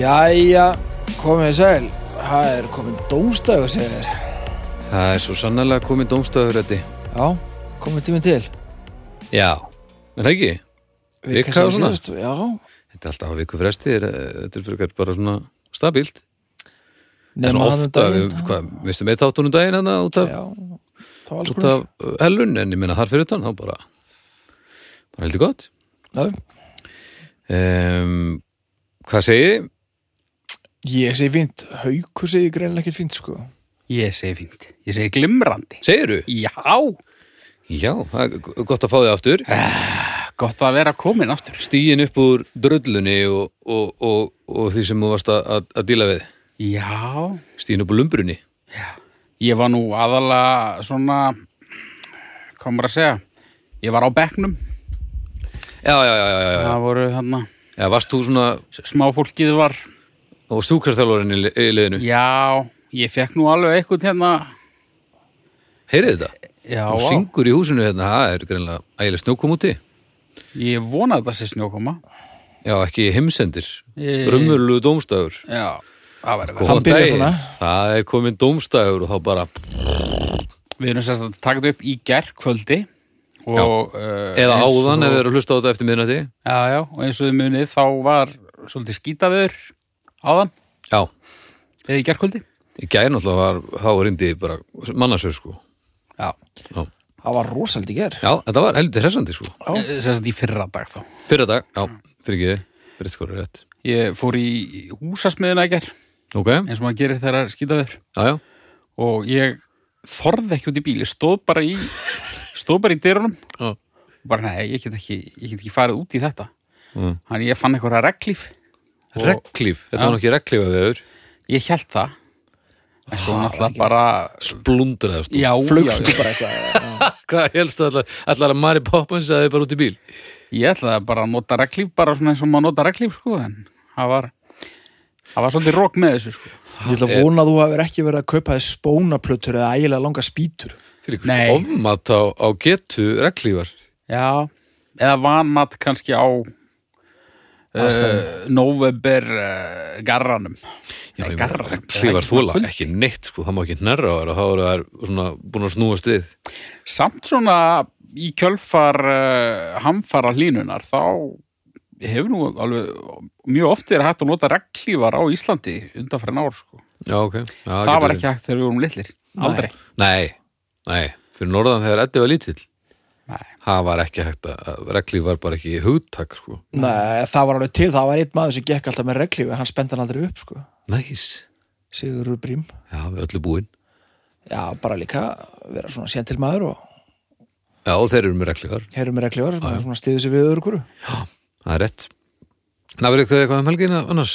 Jæja, komið sæl Það er komin dómstæður segir þér Það er svo sannlega komið dómstafur þetta Já, komið tíminn til Já, en það ekki Vika og svona? síðustu, Já, Þetta er alltaf að viku fresti er- Þetta er fyrir bara svona stabílt Það er nema svona hann um ofta, við, daginn hvað, mistum eitt þáttunum daginn hana, út af, Já, þá alls út af uh, hellun en ég meina þar fyrir utan, þá bara bara heldur gott konar um, Hvað segið þið? Ég segi fínt, haukur segi greinlega ekkert fínt sko Ég segi fínt. Ég segi glimrandi. Segiru? Já, Já, það er g- gott að fá þið aftur Eh. gott að vera komin aftur. Stíin upp úr drullunni og, og, og, og því sem þú varst að, að, að díla við Já, Stíin upp úr lumbrunni ég var nú aðalega svona, hvað maður að segja, ég var á bekknum. Já, já, já, já, já, Það voru hann já. já Varst þú svona smáfólkið var, og stúkarþjálfarinn í li- í liðinu já, ég fekk nú alveg eitthvað hérna. Heyrið þetta? Já, Og á. syngur í húsinu hérna, það er greinlega ægilega snjókum úti. ég vona að það sé snjókoma. Já, ekki heimsendir. Ég- Raumurlegu dómstæður. Já, það verður Hann Góðan byrjar daginn. svona. Það er komin dómstæður og þá bara, Við erum sérst að taka þetta upp í gerð kvöldi. Og, uh, eða eins og- áðan ef við erum að hlusta á þetta eftir miðnætti. Já, já, og eins og þið munið þá var svolítið skítaveður áðan Já, eða í gerkvöldi. í gæri náttúrulega var, þá var indi bara mannasöð sko. Já. Já, Það var rosaldi ger já þetta var heldur hressandi sko. Já. Sérst Eh, í fyrra dag þá. Fyrra dag, já, fyrir ekki þið, fyrir þetta skóra rétt. Ég fór í húsasmiðuna í ger, Ok, eins og maður gerir þegar skítaveður já, já, og ég þorði ekki út í bíl, ég stóð bara í, stóð bara í dyrunum Já. bara nei, ég get ekki, ég get ekki farið út í þetta. Mm. Þannig ég fann eitthvað reglíf, Og- reglíf, þetta Já. var nokkið reglíf að við hefur, ég held það, en svo náttúrulega bara, splundraðast. já, já, Flugstu bara eitthvað Hvað helstu allar, allar að Mari Poppins að þið bara út í bíl? Ég ætlaði bara að nota reglíf bara svona eins og maður nota reglíf sko en það var það var svolítið rók með þessu sko Ég ætla að vona að þú hefur ekki verið að kaupa þér spónaplötur eða ægilega langa spýtur Til Nei. eitthvað ofmat á, á getu reglífar. Já, eða vanmat kannski á uh, november uh, garranum Já, ég Nei, meina, garranum. regnhlífar Það er þóla ekki ekki neitt sko, það má ekki nærra á þær og þá eru þær svona búin að snúast við. svona- Samt svona í kjölfar uh, hamfara hlínunar þá hefur nú alveg mjög oft verið hægt að nota reglífar á Íslandi undanfærin ár sko Já, ok. Já, Það, getur var verið. ekki hægt þegar við vorum litlir Aldrei Nei, nei, fyrir norðan þegar Eddi var lítill, Nei. það var ekki hægt að, að reglíf var bara ekki hugtak sko. Nei, það var alveg til, það var einn maður sem gekk alltaf með reglífi, hann spendi hann aldrei upp sko Næs. Sigurur Brím Já, við öllu búin. Já, bara líka vera svona sentil maður og Já, og þeir eru með reglífar. heyrum með reglívar og svona stiðu sér við öðru hverju Það er rétt. Það verður eitthvað eitthvað um helgina annars.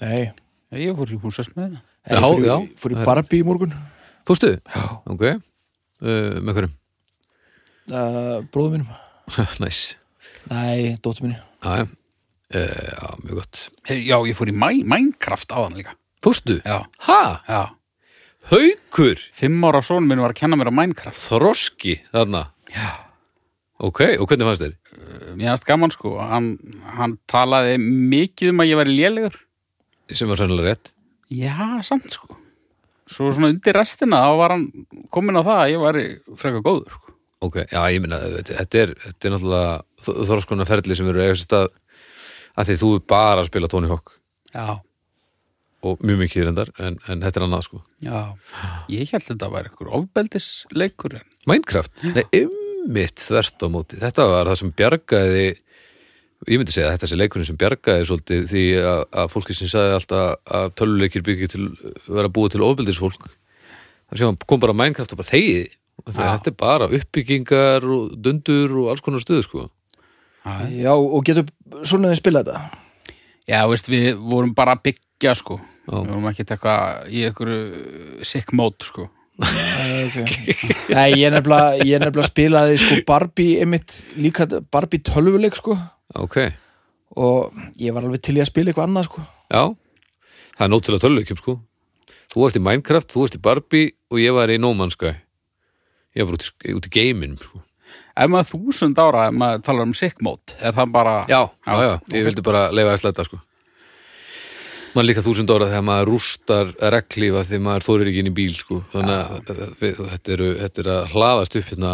Nei, Ég fór í húsasmiðina ég Já, fór í, já. fór í Barbie í morgun Fústu? Já. Ok. Uh, með hverjum? uh, bróðu mínum Næs. Nei, dóttu mínu Já, já. Eh, já, mjög gott. Já, ég fór í Mæ- Minecraft áðan líka Fústu? Já, Ha? já Haukur? Fimm ára sónu minn var að kenna mér á Minecraft. Þroski þarna? Já. Ok, og hvernig fannst þér? Mér finnst gaman sko, hann, hann talaði mikið um að ég væri lélegur. Sem var sannlega rétt. Já, samt sko. Svo svona undir restina þá var hann komin á það að ég væri frekar góður sko. Ok, já, ég minna, þetta er, þetta er náttúrulega þroskona ferli sem eru eigast að að því þú er bara að spila Tony Hawk Já. og mjög mikið reyndar, en, en þetta er annað sko. Já. Ég held þetta væri ykkur ofbeldisleikur en Minecraft, nei, ymmit þvert á móti. Þetta var það sem bjargaði ég myndi segja að þetta sé leikurinn sem bjargaði svolítið því að, að fólki sem sagði alltaf að töluleikir byggja til vera búið til ofbeldisfólk þar sem hann kom bara Minecraft og bara þegiði Já. þetta er bara uppbyggingar og dundur og alls konar stöðu sko. Já, Já, og getur svona þeim spilað þetta Já, veist, við vorum bara að byggja sko. Já. Við vorum ekki eitthvað í ykkur sick mode sko. Nei, okay. Nei, ég nefnilega, ég nefnilega spilaði sko Barbie einmitt líka Barbie tölvuleik sko ok, og ég var alveg til í að spila eitthvað annað sko já það er nótilega töluleikjum sko þú varst í Minecraft, þú varst í Barbie og ég var í No Man's Sky ég var bara út í, út í gameinum sko. Ef maður þúsund ára, ef maður talar um sick mode, er það bara... já, já, já, ég vildi bara leifa að sletta sko man líka þúsund ára þegar maður rústar reglífa þegar maður þórir ekki inn í bíl sko. þannig að við, þetta, eru, þetta er að hlaðast upp hérna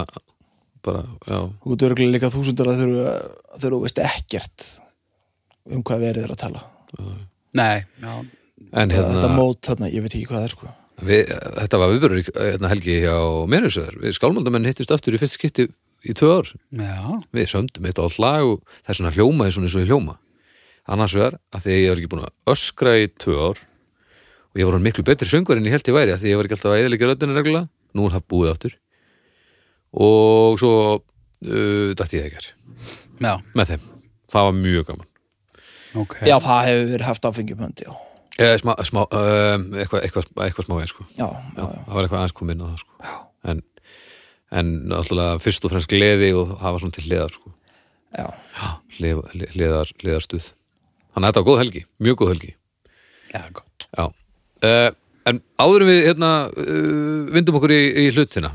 bara, já, Þú getur örgulega líka þúsundar að þau eru veist ekkert um hvað verið er að tala Nei, já, en Þetta hérna mót þarna, ég veit ekki hvað það er sko við, þetta var viðbörður hérna, helgi hjá Menusöður, við skálmaldamenn hittist aftur í fyrst skipti í tvö ár já, við sömdum eitt á lag og það er svona hljómaði svona eins og ég hljóma annars vegar að því að ég var ekki búin að öskra í tvö ár og ég var hann miklu betri söngur en ég held ég væri að því að ég var ekki alltaf að eðalega röddina regla nú er það búið aftur og svo uh, dætti ég ekkert já, með þeim, það var mjög gaman ok Hérna- Já, það hefur verið haft áfengjum höndi, já eh, smá, smá, eh, eitthvað, eitthvað, eitthvað smá eins sko. Já, já, já, það var eitthvað aðeins komið inn á það sko. en, en alltaf fyrst og fremst gleði og það var svona til hliðar sko. já. Hliðar- hliðar, hliðarstuð þannig að þetta var góð helgi, mjög góð helgi Já, gott já uh, en áðurum við hérna uh, vindum okkur í, í hlutina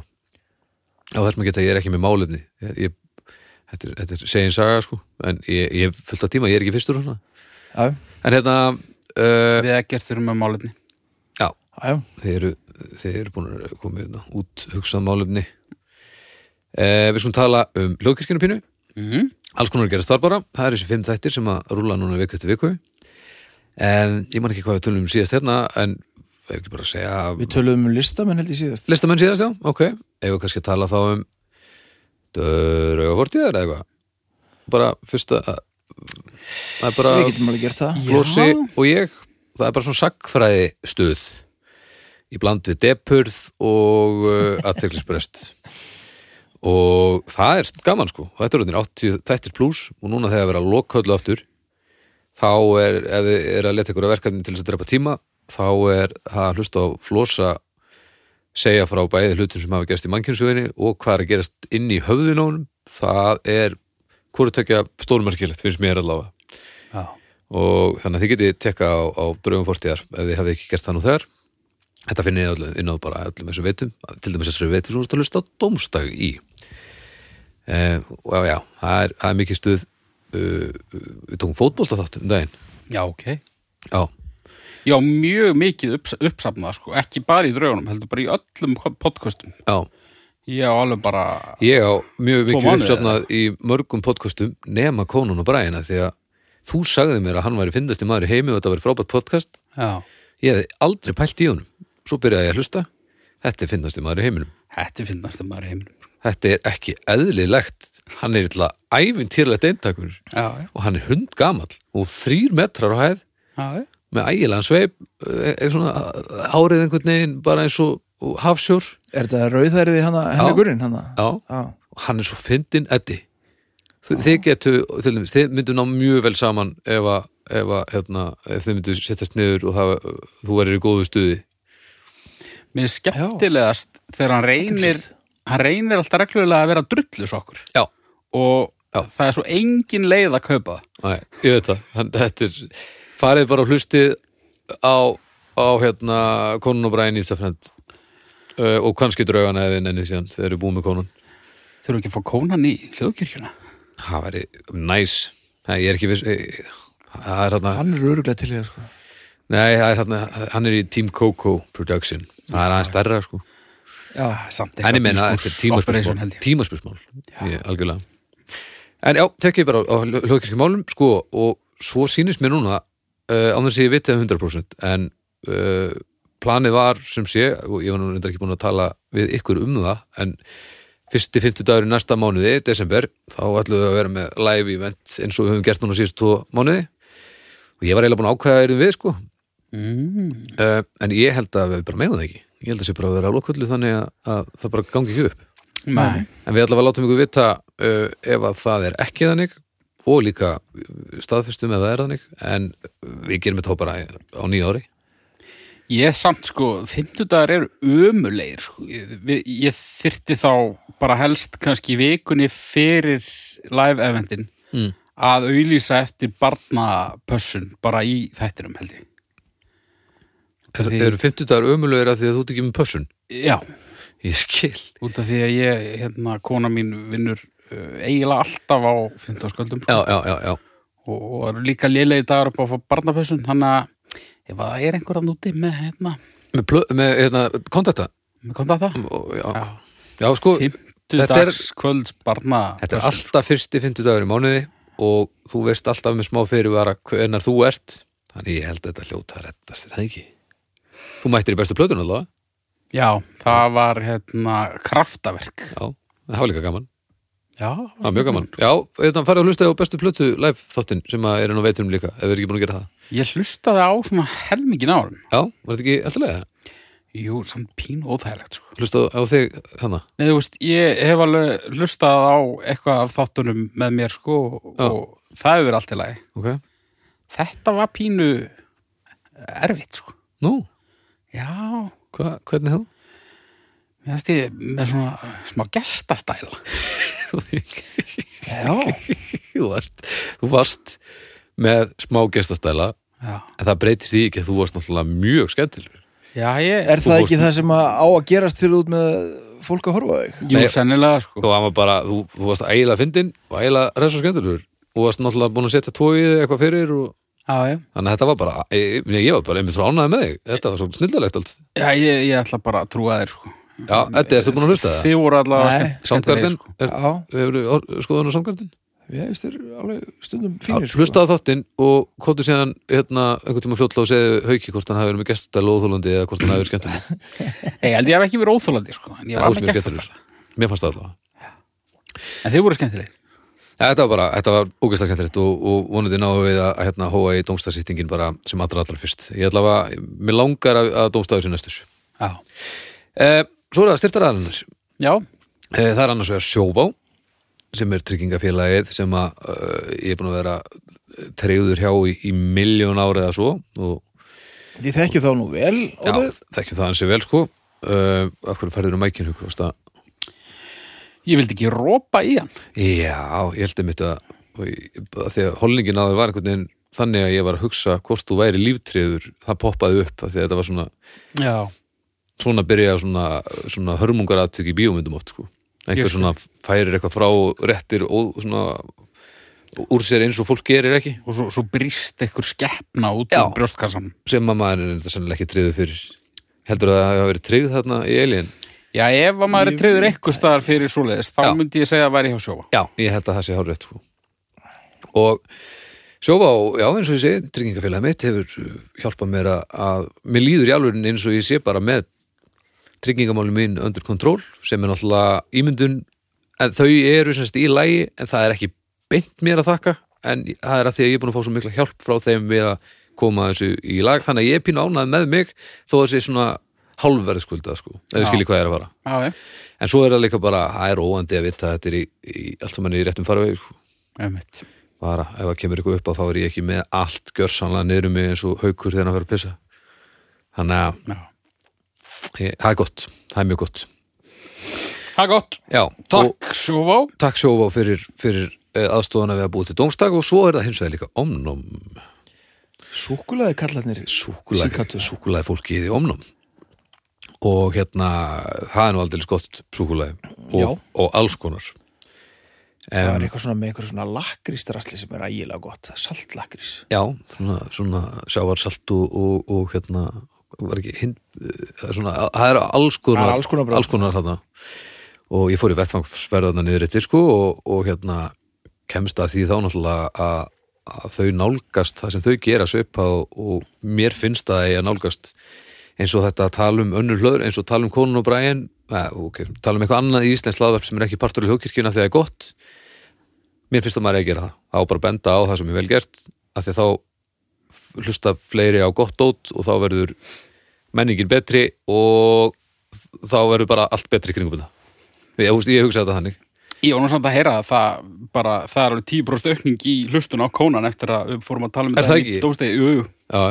á þess maður geta, ég er ekki með málefni ég, ég, þetta, er, þetta er segin saga sko en ég, ég hef fullt af tíma, ég er ekki fyrstur og svona já, en hérna uh, Við ekkert þurfum með málefni já, já, já. þeir eru, þeir eru búin að koma hérna, út hugsað málefni uh, við skulum tala um hljóðkirkjuna pínu mm Mhm. alls konar gerast þar bara, það er þessi fimm þættir sem að rúla núna viku eftir viku en ég man ekki hvað við tölum um síðast hérna en það er ekki bara að segja Við töluðum um listamenn held ég síðast listamenn síðast já, ok eigum við kannski að tala þá um drauga fortíðar eða eitthvað bara fyrsta það er bara Við getum alveg gert það Flósi og ég það er bara svona sakfræði stuð í bland við depurð og uh, aðteglisbrest og það er gaman sko og þetta er orðin 80 þættir pluss og núna þegar verið að loka öllu aftur þá er, ef þið er að leta ykkur að verkefni til þess að drepa tíma þá er það að hlusta á Flósa segja frá bæði hlutum sem hafa gerst í mannkynsuginni og hvað er að gerast inn í höfðinónum það er hvort tökja stórmerkilegt finnst mér allavega Já, og þannig að þið getið tekka á, á draugum fórstíðar ef þið hefði ekki gert það nú þegar þetta finnið þið öllu inn á bara öllum þessum veitum til dæmis þessari veitum sem þú ert að hlusta á dómstag í eh, og já, já, það er, það er mikið stuð uh, við tókum fótbolt á þáttum um daginn já ok já, Já, mjög mikið upps uppsafnað sko Ekki bara í draugunum, heldur bara í öllum podcastum já, Ég á alveg bara ég á mjög Tvo mikið mánuði uppsöfnað í mörgum podcastum nema Konun og Bræina því að þú sagði mér að hann væri fyndasti maður í heimi og þetta væri frábært podcast Já, ég hefði aldrei pælt í honum svo byrjaði ég að hlusta þetta er fyndasti maður í heiminum þetta finnast maður í heiminum sko. þetta er ekki eðlilegt hann er illa ævintýrlegt eintakur Já, já, og hann er hundgamall og þrýr metrar á hæð já, já með ægilegan sveip eh, eitthvað svona hárið einhvern veginn bara eins og, og hafsjór Er þetta rauðærið hana, henni gurinn hana? já, Já, og hann er svo fyndin eddi Þi- þið getu, til dæmis, þið myndu ná mjög vel saman ef að, ef að hérna, ef þið myndu sittast niður og það, þú verður í góðu stuði Mér er skemmtilegast þegar hann reynir Hann reynir alltaf reglulega að vera drullus okkur já, Og Já. það er svo engin leið að kaupa það Nei, ég veit það hann, þetta er, farið bara og hlustið á, á hérna konun og bræðin í Ísafrend uh, og kannski draugana eða ennið síðan þeir eru búið með konun Þurfum ekki að fá kónan í hljóðkirkjuna það væri næs Nei, ég er ekki viss eh, það er hérna, hann er öruglega til hér sko nei, það er hérna hann er í Team Coco Production það er aðeins stærra sko Já, Ah, Samt en ég meina, þetta er sko. kúrs- operation, tímaspörsmál held ég. tímaspörsmál, ég, algjörlega en já, tekkið bara á hljóðkirkjum málum sko, og svo sýnist mér núna uh, án þess að ég viti það 100% en uh, planið var sem sé, og ég var nú reyndar ekki búin að tala við ykkur um það, en fyrsti fimmtudagur í næsta mánuði, desember þá ætlum við að vera með live event eins og við höfum gert núna síðust tvo mánuði og ég var eiginlega búin að ákveða erum við sko mm. uh, en ég held að við bara megum það ekki ég held að sé bara að vera á lokvöldu þannig að, að það bara gangi ekki upp Nei, En við allavega látum ykkur vita uh, ef að það er ekki þannig og líka uh, staðfestum ef það er þannig en við gerum þetta þá bara á nýja ári. ég samt sko, fimmtudagar eru ömulegir sko. ég, við- ég þyrti þá bara helst kannski vikunni fyrir live eventin Mm. að auðlýsa eftir barnapössun bara í þættinum held ég Það eru 50 dagar ömulegur af því að þú ert ekki með pössun. Já, Ég skil. út af því að ég, hérna, kona mín vinnur uh, eiginlega alltaf á fimmtudagarsköldum sko. Já, já, já, já. og, og eru líka lélegi dagar upp á að fá barnapössun þannig að ef það er einhver að núti með hérna með, plö, með hérna, kontakta með kontakta og, já. Já. Já. sko, þetta er- fimmtudags kvölds barna þetta er alltaf fyrsti fimmtudagur í mánuði og þú veist alltaf með smá fyrirvara hvenar þú ert þannig ég held að þetta hljóta að rettast er það ekki þú mættir í bestu plötun alveg já, það var hérna kraftaverk já, það var líka gaman, já, það var mjög gaman já, þetta farið að hlusta á bestu plötu live þáttinn sem að er enn á veitunum líka ef við erum ekki búin að gera það ég hlustaði á svona helmingin árum já, var þetta ekki alltaf lega? jú, samt pínu óþægilegt sko. Hlusta á þig hana Nei, þú veist, ég hef alveg hlustað á eitthvað af þáttunum með mér sko Já. og það hefur verið allt í lagi ok, þetta var pínu erfitt sko nú, já, hva, hvernig þú? Mér finnst ég með svona smá gestastæla. Já. þú varst, þú varst með smá gestastæla Já, en það breytir því ekki að þú varst náttúrulega mjög skemmtilegur já ég, Er það fórst- ekki það sem að á að gerast til út með fólk að horfa á þig? jú, Nei. sennilega, sko. þú, var bara, þú, þú varst ægilega fyndin og ægilega resa skemmtilegur og varst náttúrulega búin að setja tvo í þig eitthvað fyrir og Já, ég. þannig að þetta var bara, e, ég, ég, ég var bara einmitt svo ánæði með þig, þetta var svo snildalegt allt Já, ég, ég ætla bara að trúa þér, sko. já, Eddi, ertu búin að hlusta það? Þið voru allavega Nei. skemmt- skemmtilegir, Soundgarden, sko. er, Já, hefur skoðun á Soundgarden? við hefist þér alveg stundum Já, fínir sko. hlustaðu á þáttinn og kóttu síðan hérna, einhvern tíma fljótla og segðu hauki hvort hann hafi verið með gestastæla óþólandi eða hvort hann hafi verið skemmtileg Nei, ég held ég hef ekki verið óþólandi, sko. En ég Já, þú var með ert mjög gestastæla. mér fannst það allavega En þið voru skemmtilegir. Ja, þetta var bara, þetta var ógeðslega skemmtilegt og, og vonandi náðu við að hérna, hóa í dómstagssýttingin bara sem allra allra fyrst. Ég ætla að, mér langar að, að dómstagur sem næstus. Já. Eh, svo er það styrtaraðalinnar. Já, Eh, það er annars vegar Sjóvá sem er tryggingafélagið sem að eh, ég er búin að vera treyður hjá í, í miljón ári eða svo og Ég þekki þá nú vel já, Óli. þekkjum það hansi vel sko. Eh, af hverju færður um mækinn hug? varstu að- ég vildi ekki rópa í hann. Já, ég held einmitt að, að því að holningin að það var einhvern veginn þannig að ég var að hugsa hvort þú væri líftriður það poppaði upp af því að þetta var svona Já. svona byrja svona, svona hörmungaratvik í bíómyndum oft sko. Ég einhver skil. svona færir eitthvað frá og réttir og svona úr sér eins og fólk gerir ekki Og svo, svo brist ekkur skeppna út Já. úr brjóstkassan. sem að maður er þetta sennilega ekki triður fyrir heldur að það hafa verið tryggð þarna í Alien Já, ef að maður er treyður eitthvað staðar fyrir svoleiðis, þá Já. myndi ég segja að væri hjá sjófa. Já, ég held að það sé hár rétt sko. og sjófa á, já eins og ég segi, tryggingafélag mitt hefur uh, hjálpað mér að, að mér líður í alvörin eins og ég sé bara með tryggingamálum mín undir kontról sem er náttúrulega ímyndun en þau eru semst í lægi en það er ekki beint mér að þakka en það er að því að ég er búin að fá svo mikla hjálp frá þeim við að koma þessu í lag þannig að ég er pínu ánæð með mig þó að þessi svona hálfverð skuldað sko, eða Já. skilji hvað ég er að fara Já, ég. en svo er það líka bara, það er óandi að vita að þetta er í, í allt saman í réttum farvegi sko. Einmitt. bara ef það kemur eitthvað upp á þá er ég ekki með allt gjörsanlega niður um mig eins og haukur þegar hann fyrir að pissa þannig að Já. ég, það er gott, það er mjög gott Það er gott. já, og Takk, sjófa. takk sjófa fyrir, fyrir aðstofana við að búið til dómstak og svo er það hins vegar líka omnum Súkkulaði kallarnir Síkátur. súkulæði fólkið í omnum og hérna það er nú aldrei gott súkulæði Já. og, og alls konar Það um, er eitthvað svona með eitthvað svona lakrístrasli sem er ægilega gott Saltlakrís Já, svona, svona sjávarsalt og, og, og hérna var ekki hind, eh, svona, það er alls konar, Það er alls konar brögð. hérna. og ég fór í vettfangsverðarna niður eittir sko og, og hérna kemst að því þá náttúrulega að, að þau nálgast það sem þau gera svipa og, og mér finnst það að ég að nálgast eins og þetta að tala um önnur hlöður eins og tala um konun og bræin okay, tala um eitthvað annað í Íslands laðverf sem er ekki partur í hugkirkjuna því það er gott mér finnst að maður er að gera það það á bara að benda á það sem er vel gert af því að þá hlusta fleiri á gott dót og þá verður menningin betri og þá verður bara allt betri í kringum þetta ég, þú veist, ég hugsa þetta þannig Ég var nú samt að heyra að það bara, það er alveg 10% aukning í hlustun á kónan eftir að við fórum að tala um Er það ekki? Dómstegi, jú, jú, Já,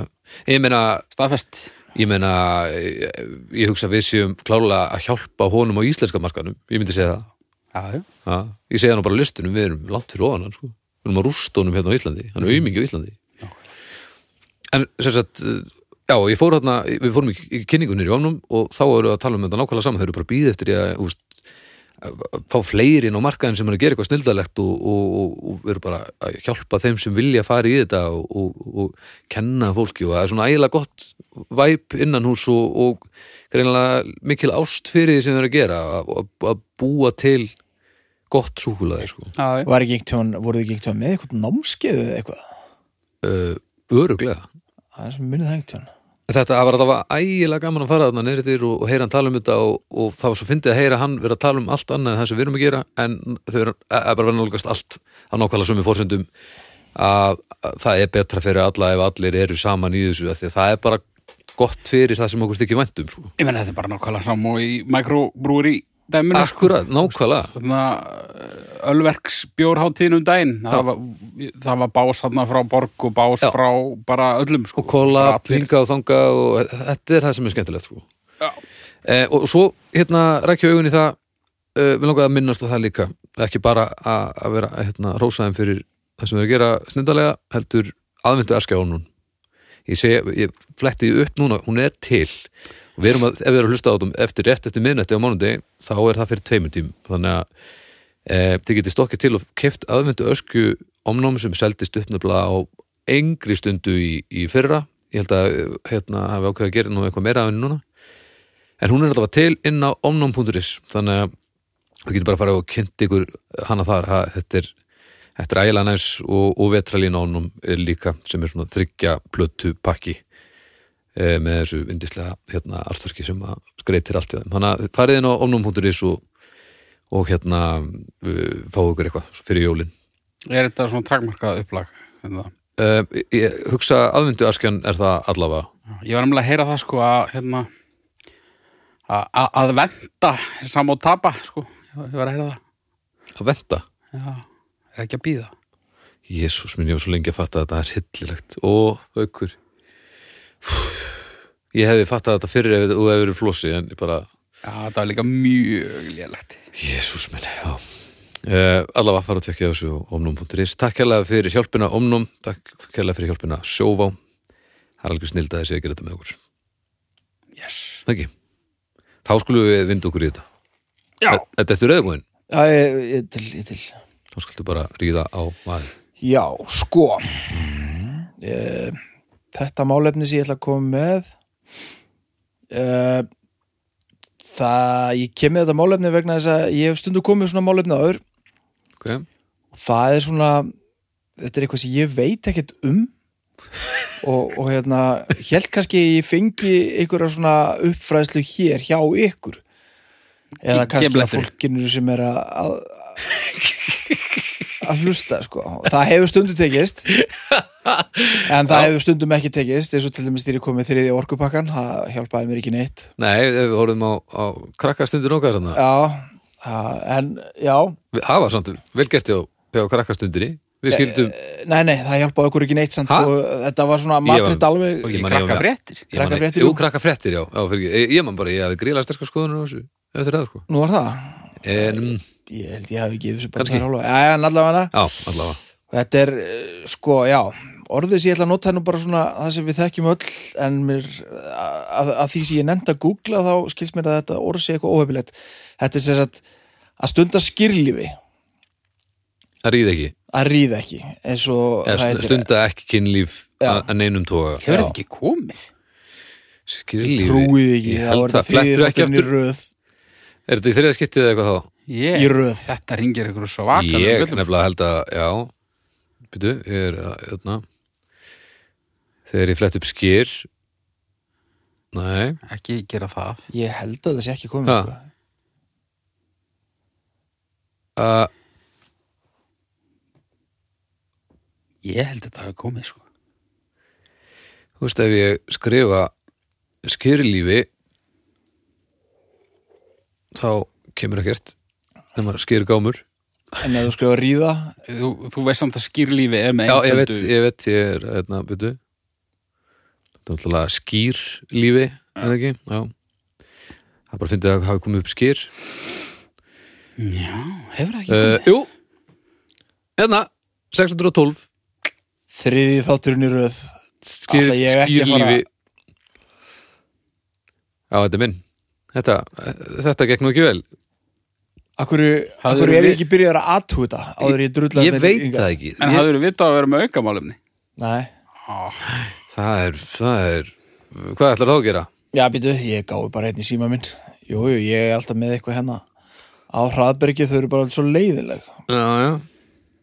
ég meina, staðfest. ég meina ég, ég hugsa að við séum klálega að hjálpa honum á íslenska markanum ég myndi segja það Já, já. ja. ég segja hann bara á listunum, við erum langt fyrir ofan hann sko. við erum að rústa honum hérna á Íslandi hann er aumingi á Íslandi en sem sagt eh, já, ég fór hérna, við fórum í í kynningu nýri ofnum og þá eru að tala um þetta nákvæmlega saman, þau eru bara býð eftir ég að, úst, fá fleiri inn á markaðin sem er að gera eitthvað snildalegt og, og, og, og eru bara að hjálpa þeim sem vilja fara í þetta og, og, og kenna fólki og það er svona ægilega gott væp innan hús og, og greinlega mikil ást fyrir því sem þeir eru að gera að- að að búa til gott súkulaði sko. Já, já. Var ekki einhvern tjón, voruð ekki einhvern tjón með eitthvað námskeið eða eitthvað? uh, öruglega Það er sem minnið það einhvern tjón. Þetta það var að það var ægilega gaman að fara þarna neyrir til og, og heyra hann tala um þetta og, og það var svo fyndið að heyra hann vera að tala um allt annað en það sem við erum að gera en þau eru að að bara vera nálgast allt að nákvæmlega sömu fórsendum að, að það er betra fyrir alla ef allir eru saman í þessu af því að það er bara gott fyrir það sem okkur þykir væntum sko. Ég menn þetta er bara nákvæmlega samú í mikrobrúri dæminu. sko. Akkurat, nákvæmlega Þarna Ölverks bjórháttíðin um daginn. Já. Það var, það var bás þarna frá borg og bás Já. frá bara öllum. Sko. og kolla, Bara allir. pinga og þanga og þetta er það sem er skemmtilegt sko. Já. Eh, og svo hérna rækja augun í það eh, við langaði að minnast á það líka ekki bara að að vera hérna, rósaðum fyrir það sem er að gera snyndalega heldur aðvendu erskjáunum ég, seg, ég fletti því upp núna hún er til og við erum að, ef við erum að hlusta á þetta eftir rétt eftir minnetti á mánudegi þá er það fyrir tveimur tím þannig að eh, þið getið stokkið til og keft aðvendu ösku omnóm sem seldist upp nefnilega á engri stundu í, í fyrra ég held að eh, hérna hafi ákveðið að gera nú eitthvað meira af henni núna en hún er alltaf til inn á omnum.is þannig að þú getur bara að fara og kynnt ykkur hana þar ha, þetta er, þetta er ægilega næs og, og vetralín á omnum er líka sem er svona þryggja plötu pakki e, með þessu indislega hérna artverki sem að skreitir allt í þeim þannig að farið inn á omnum.is og, og hérna eh, fáu ykkur eitthvað fyrir jólin Er þetta svona takmarkað upplag? Hérna. e, ég hugsa aðvindu askjan er það allavega Ég var nefnilega að heyra það sko að hérna, að- að að venda er sama og tapa sko. Ég var að heyra það. að venda Já, er ekki að býða. Jésús minn, ég var svo lengi að fatta að þetta er hillilegt og aukur ég hefði fattað þetta fyrir ef þú hefur verið flossi en ég bara, Já, þetta var líka mjög lélegt. Jésús minn já Uh, allavega fara að tekja þessu á omnum.is Takk hérlega fyrir hjálpina omnum Takk hérlega fyrir hjálpina sjóvá Það er alveg snild að þessi að gera þetta með okkur Yes. Það ekki Þá skulum við vinda okkur í þetta Já, Er- Er þetta reyðbúin? Já, ég, ég til, ég til. Þá skuldu bara ríða á maður Já, sko. Eh, þetta málefni sem ég ætla að koma með. Eh, það, ég kem með þetta málefni vegna þess að ég hef stundu komið með svona málefni áður okay. og það er svona þetta er eitthvað sem ég veit ekkert um og, og hérna held kannski að ég fengi einhverja svona uppfræðslu hér hjá ykkur eða Ge- kannski að geflettur. fólkinu sem er að að, að hlusta sko það hefur stundum tekist en það hefur stundum ekki tekist eins og til dæmis þegar ég kom með þriði orkupakkan það hjálpaði mér ekki neitt Nei, ef við horfum á, á krakkastundir okkar hérna, þarna já, það- en já Við- Það var samt vel gert hjá, hjá krakkastundinni Við skildum, Nei, nei, það hjálpaði okkur ekki neitt samt Ha? og þetta var svona Ég var- matritt alveg Ég ekki man ég var krakka með- fréttir. ég man- krakkafréttir, Jú, jú. krakkafréttir, já, já fyrir, ég, ég man bara, ég hafði gríðlega sterkar skoðunum á þessu Eftir það, sko Nú var það En, mm, Ég held ég hafi ekki þessu bara Kannski. tvær hálfa Já, já, en allavega já, allavega Þetta er, eh, sko, já Orðið sem ég ætla að nota er nú bara svona það sem við þekkjum öll en mér, að, að því sem ég nefndi að googla þá skilst mér að þetta orð sé eitthvað óhefilegt Þetta er sér að, að stunda skýrlífi Það ríði ekki, að ríða ekki eins og eða það stu- heitir. stunda ekki kynlíf Já. að að neinum toga Hefur Já. þetta ekki komið? Ég Skýrlífi trúið ekki, Ég það held var þetta það, flettur ekki þriðji þátturinn í aftur röð Er þetta í þriða skiptið eða eitthvað þá? Ég, Í röð. Þetta ringir ykkur svo vakar. Ég nefnilega held að, já Býtu, ég er að, hérna Þegar ég flett upp skýr Nei, Ekki gera það. Ég held að það sé ekki komið Ha. sko. að Ég held þetta hafi komið, sko. Þú veist, ef ég skrifa skýrlífi þá kemur ekkert nema skýrgámur En ef þú skrifa ríða Þú, þú veist samt að skýrlífi er með Já, ég veit, einföldu- ég veit, ég er hérna, byrju Þetta er náttúrulega skýrlífi er það ekki? Já Það er bara að fyndi að hafa komið upp skýr Já, hefur það ekki komið? uh, Jú Hérna, 612 þriði þátturinn í röð skýr, Ætla ég ekki að fara- skýrlífi eh, Já, þetta er minn Þetta, þetta gekk nú ekki vel Akkur, Hafðirðu akkur er við- ég ekki byrjaður að athúi þetta áður en ég drulla ég veit það ekki En ég, hafðu verið vitað að vera með aukamálumni? Nei, það er, það er hvað ætlar þá að gera? já býtu, ég gáði bara einn í síma minn Jú, jú, ég er alltaf með eitthvað hennar Á hraðbergi þau eru bara alveg svo leiðileg Já, já.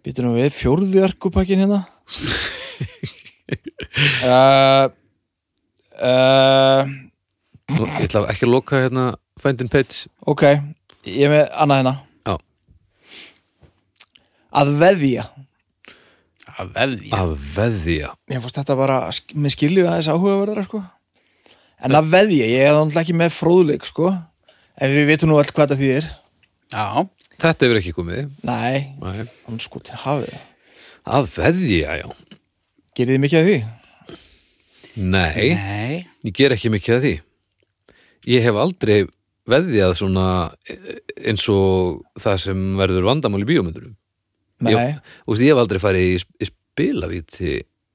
Býtu nú við, fjórði arkupakkin hérna uh, uh, Nú, ég ætla ekki að loka hérna findin page Ok, ég er með annað hérna Já. Að veðja Að veðja. að veðja Mér fannst þetta bara, sk- mér skilju aðeins áhugaverðara sko En að veðja, ég er þannig ekki með fróðleik sko En við vitum nú öll hvað það þýðir Já, þetta hefur ekki komið Nei, Nei. hann sko til hafið það. að veðja, já Gerið þið mikið af því? Nei, nei. ég ger ekki mikið að því Ég hef aldrei veðjað svona eh, eins og það sem verður vandamál í bíómyndurum Nei, Ég, og því ég hef aldrei farið í, sp- í spilavíti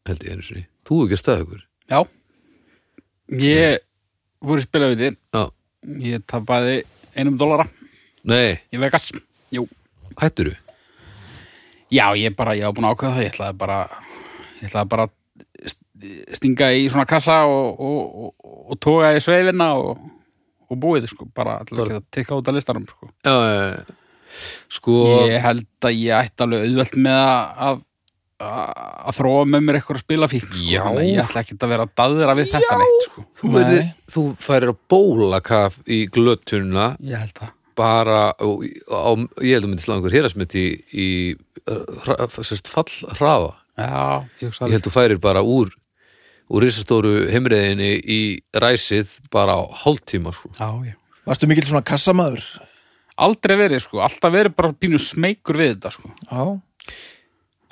held ég einu sinni, þú hefur gert það ykkur Já. Ég voru í spilaviti. Já, Ég tapaði einum dólara nei, í Vegas. Jú. hætturu Já, ég bara, ég var búin að ákveða það, ég ætlaði bara, ég ætlaði bara að st- stinga í svona kassa og, og, og, og toga í sveifina og, og búið, sko, bara ætlaði ekki að tikka út af listanum, sko. Já, já, já. Sko, Ég held að ég ætti alveg auðvelt með að, að, að þróa með mér eitthvað að spila fík, sko. Já. þannig að Ég ætla ekki að vera að daðra við þetta neitt, sko. þú, Nei. verði, þú færir að bóla kaf í glötuna Ég held það. bara og, á, ég held að myndi slá einhver hérasmitt í, í hra, sérst, fall hraða Já, ég hugsa ég held þú færir bara úr úr risastóru heimriðinni í ræsið bara á hálftíma sko. Já, já. varstu mikil svona kassamaður? Aldrei verið, sko, alltaf verið bara pínu smeykur við þetta, sko. Já,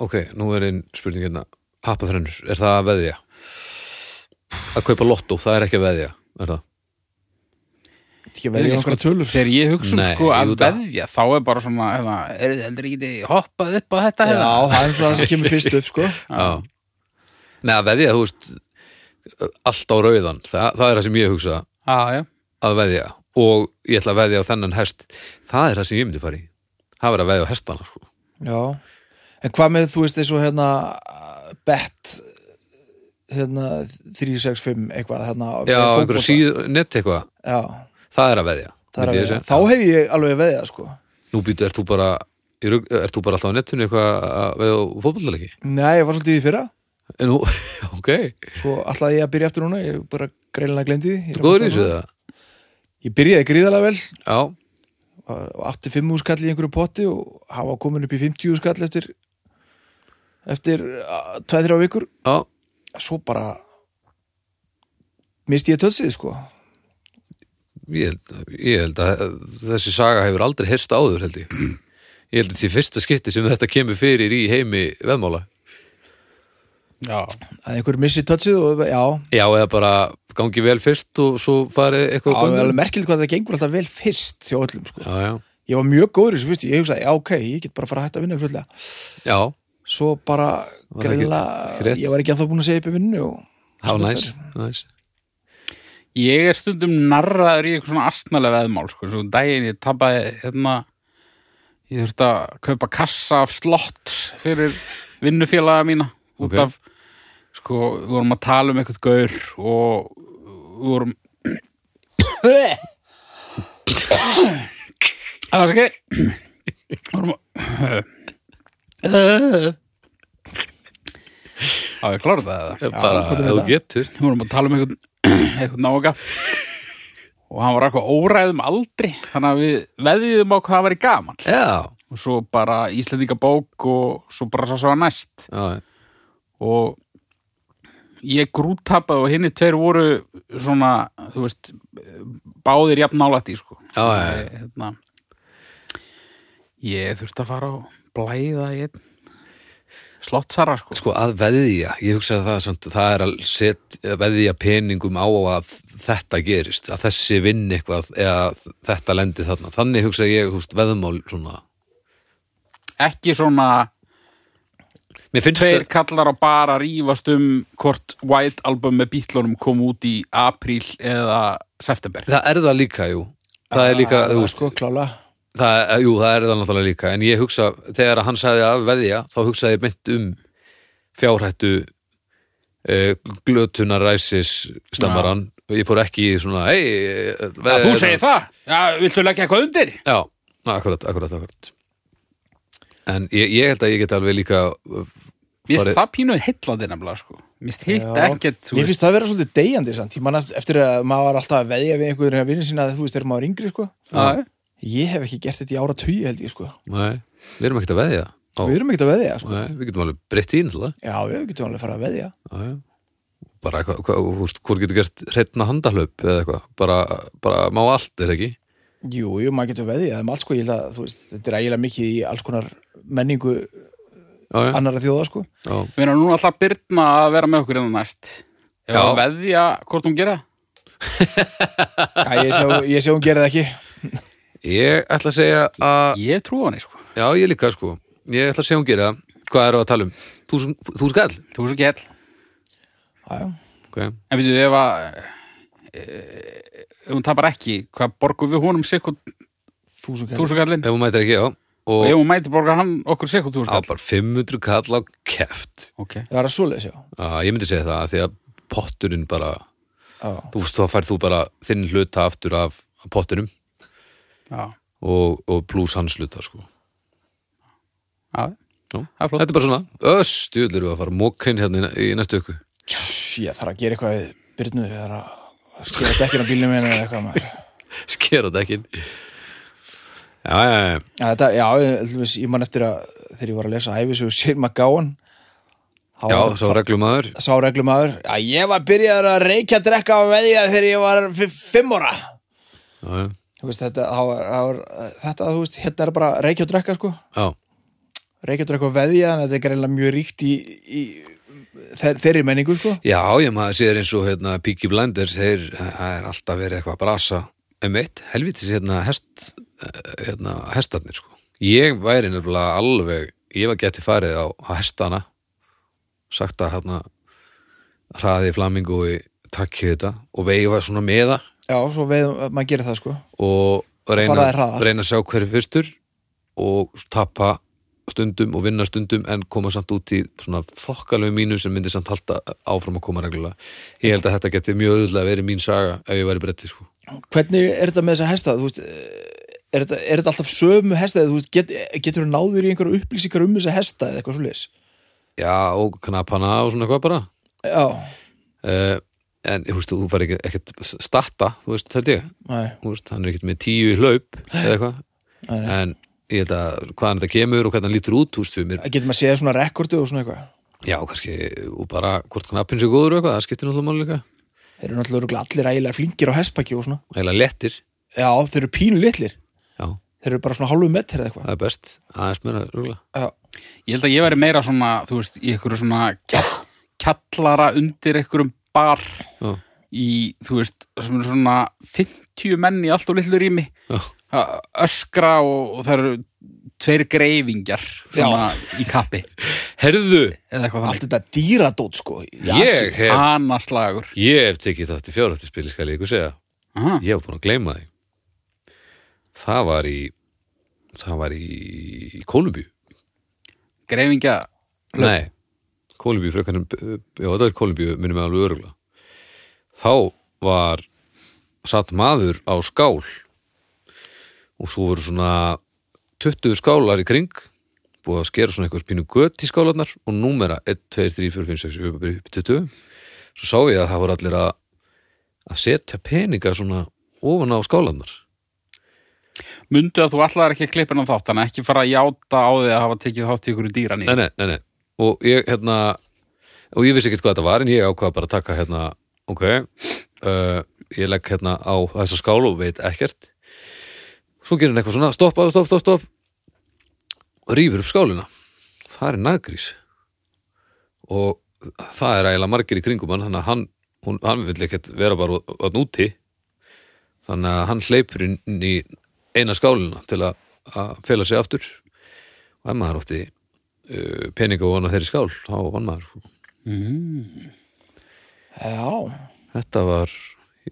ok, nú er einn spurning hérna pappaþrennur, er það að veðja? að kaupa lottó, það er ekki að veðja er það? Þetta ekki veðja sko, einhverja tölur þegar ég hugsa um Nei, sko að jú, það- veðja þá er bara svona, hefna, er þið heldur ekki þið hoppað upp á þetta Já, hérna? það er svona það sem kemur fyrst upp sko já Nei, að veðja, þú veist allt á rauðan, það, það er það sem ég hugsa já, já, að veðja og ég ætla að veðja á þennan hest það er það sem ég myndi fara í það verður að veðja á hestana sko. Já, en hvað með þú veist eins og hérna bet hérna 365 eitthvað hérna já, með fótbolta? einhverja síðu, nett eitthvað Já, það er að veðja, það er myndi að ég veðja segja. Þá hef ég alveg veðja sko Nú býtu, ert þú bara í rugl- ert þú bara alltaf á nettunni eitthvað að veða fótbollaleiki? Nei, ég var svolítið í því fyrra Nú, ok, Svo alltaf ég að byrja eftir núna, ég bara greilinlega glemdi því Ég er að góður í fatta þessu núna. það Ég byrjaði gríðalega vel Já, og átti 5 úrskall í einhverju potti og hafa komin upp í 50 úrskall eftir eftir 2-3 vikur já, svo bara misti ég tölsið sko ég held, ég held að þessi saga hefur aldrei heyrst áður held ég Ég held að þetta sé fyrsta skipti sem þetta kemur fyrir í heimi veðmála já, að einhver missi tölsið og já, Já, eða bara gangi vel fyrst og svo fari það eitthvað á var gönguna. alveg merkilegt hvað það gengur alltaf vel fyrst hjá öllum sko Já, já, ég var mjög góður í þessu fyrst, ég hugsaði, já ok, ég get bara að fara að hætta að vinna fljóðlega já, svo bara Var það ekki- ekki greinlega rétt? ég var ekki að það búin að segja upp í vinnu og þá Svo næs, næs ég er stundum narraður í eitthvað svona astnalega veðmál sko, svo daginn ég tapaði hérna, ég þurfti að kaupa kassa af slott fyrir vinnufélaga mína út Ok. af, sko, við vorum að tala um eitthvað gaur og við vorum Það var ekki Vorum að Já, ég klára það eða Bara, ef hvað er þú þetta? getur Við vorum að tala um eitthvað eitthvað nága og hann var eitthvað óræðum aldri þannig að við veðiðum á hvað hann væri gamall Já, og svo bara Íslendinga bók og svo bara sá svo hann næst já, já. og ég grúttapaði og hinni tveir voru svona, þú veist báðir jafn nálætti sko. Já, já, já. Ég, hérna, ég þurfti að fara og blæða í einn slottsara sko. Sko að veðja, ég hugsa að það, samt, það er að set, að veðja peningum á að þetta gerist, að þessi vinn eitthvað eða að þetta lendi þarna. Þannig hugsa ég, húst, veðmál svona. ekki svona Mér finnst tveir kallar á bara rífast um hvort White Album með Beatlunum kom út í apríl eða september það, það er það líka, jú. Það er líka, það þú var veist, sko klála það, eh, jú, það er það náttúrulega líka en ég hugsa, þegar hann sagði að veðja þá hugsaði ég mynd um fjárhættu uh, glötunaræsis stammaran ég fór ekki í svona hey, eh, að þú segir það, já, viltu leggja eitthvað undir Já, akkurat, akkurat, akkurat En ég, ég held að ég get alveg líka uh, mér farið- finnst það pínuð heillandi nefnilega sko. mér finnst hitt Já. ekkert Mér þú veist, finnst það að vera svolítið deyjandi samt. Ég man eft- eftir að maður var alltaf að veðja við einhverjum vinnum sína að þú veist þegar maður var yngri sko. að, Ég hef ekki gert þetta í ára tugi held ég sko. Nei, við erum ekkert að veðja Ó, Við erum ekkert að veðja sko. nei, Við getum alveg breytt í náttúrulega Já, við getum alveg að fara að veðja. Já, já. Bara eitthvað, hvað, þú veist, hvort getur gert hreitna handahlaup eða eitthvað bara, bara má allt, er það ekki? Jú, jú, maður getur veðjað um allt sko, ég held að þú veist, þetta er ægilega mikið í alls konar menningu Já, já, annara þjóða sko. já, við erum núna alltaf byrna að vera með okkur en næst ef Já. að veðja hvort hún gera Já, ég sé, ég sé hún gera það ekki. Ég ætla að segja að ég trú á henni sko, Já, ég líka, sko Ég ætla að segja hún gera það Hvað eru að tala um? Þúsund þúsund kall? þú veist ekki hell Já, já. Ok, en við ef að eh, ef hún tapar ekki, hvað borgum við honum sikkert Þúsund kallar. túsugallin ef hún mætir ekki, já og Og ef hún mæti borga hann okkur á sikkert túsugall bara 500 kall á keft ok, Það er að svoleiðis, já. Já, ég myndi segja það af því að potturinn bara já. þú veist, þá færð þú bara þinn hluta aftur af pottinum já, og, og pluss hans hluta sko. já Já. það er flott Þetta er bara svona östjúl erum við að fara mókinn hérna í í næstu öku Tss, Ég þarf að gera eitthvað við Byrnu, ég þarf að skera dekkin á bílnum minni eða eitthvað maður. skera dekkin Já, já, já, Já, þetta, já, ég, til dæmis, ég man eftir að þegar ég var að lesa æfisögu Sir McGowan þá já, var- sá reglum aður sá reglum aður að ég var byrjaður að reykja að drekka á veðja þegar ég var fi- fimm ára Já, já, Þú veist, þetta, þá var, þá var, þetta, þú veist, hérna er bara reykja og drekka sko, já, reykja og drekka á veðja en þetta er greinlega mjög ríkt í, í þeir, þeirri menningu sko já, ég maður séður eins og hérna Peaky Blinders, þeir, það er alltaf verið eitthvað að brasa um eitt, helvitis hérna hest eh, hérna hestarnir sko. Ég væri nefnilega alveg, ég var geti farið á, á hestana sagt að hérna hraði flamingu í takki þetta og veifa svona með það Já, svo veð, maður gerir það sko og Fara reyna, þér hraðar. reyna að sjá hverju fyrstur og tapa stundum og vinna stundum en koma samt út í svona þokkalegu mínu sem myndi samt halda áfram að koma reglulega ég held að þetta geti mjög auðvitað verið mín saga ef ég væri bretti sko Hvernig er þetta með þessa hesta, þú veist er þetta, er þetta alltaf sömu hesta eða þú veist, get, getur þú náður í einhverju upplýsingar um þessa hesta eða eitthvað svo já og knapana og svona eitthvað bara Já, uh, en þú veist þú fær ekki, ekkert starta þú veist þetta ég nei, Þú veist, hann er ekkert með tíu í hlaup eða eitthvað Nei, nei. en ég held að hvaðan þetta kemur og hvernig hann lítur út þú veist við mér getur maður séð svona rekordu og svona eitthvað já kannski og bara hvort knappin sé góður og eitthvað það skiptir náttúrulega máli líka Þeir eru náttúrulega örugglega allir ægilega flinkir á hestbaki og svona. heila lettir Já, þeir eru pínu litlir. já, Þeir eru bara svona hálfu metr eða eitthvað. það er best aðeins meira rúgla Já, Ég held að ég væri meira svona, þú veist, í einhverju svona kjall- kjallara undir einhverjum bar já, í, þú veist, sem eru svona 50 menn í allt og litlu rými já, að öskra og, og það eru tveir greifingjar svona í kappi herðu eða eitthvað allt þannig. þetta dýradót sko. Já, ég hef, Anaslagur. ég hef tekið þátt í fjárhættispili skal ég ykkur segja Aha. ég hef búin að gleyma því það var í það var í, í Kolumbíu Greifingja, Nei, Kólumbíu frekarinn Já, þetta er Kólumbíu, minnum við alveg örugla Þá var satt maður á skál og svo voru svona 20 skálar í kring búið að skera svona eitthvað spínu gött í skálarnar og númera 1, 2, 3, 4, 5, 6, 7, upp í 20 svo sá ég að það voru allir að að setja peninga svona ofan á skálarnar mundu að þú allar ekki að klippa hann þátt, þannig að ekki fara að játa á því að hafa tekið þátt í einhverju dýran í. nei, nei, nei, nei. og ég hérna og ég vissi ekkert hvað þetta var en ég ákvað bara að taka hérna ok, uh, ég legg hérna á þessa skál og veit ekkert svo gerir hann eitthvað svona stopp, stopp, stopp, stopp og rýfur upp skálina það er nagrís og það er eiginlega margir í kringum hann þannig að hann, hún, hann vill ekkert vera bara að úti þannig að hann hleypur inn í eina skálina til að, að fela sig aftur og ef maður átti uh, peninga og vana þeirri skál þá vann maður sko. Mm. já. þetta var,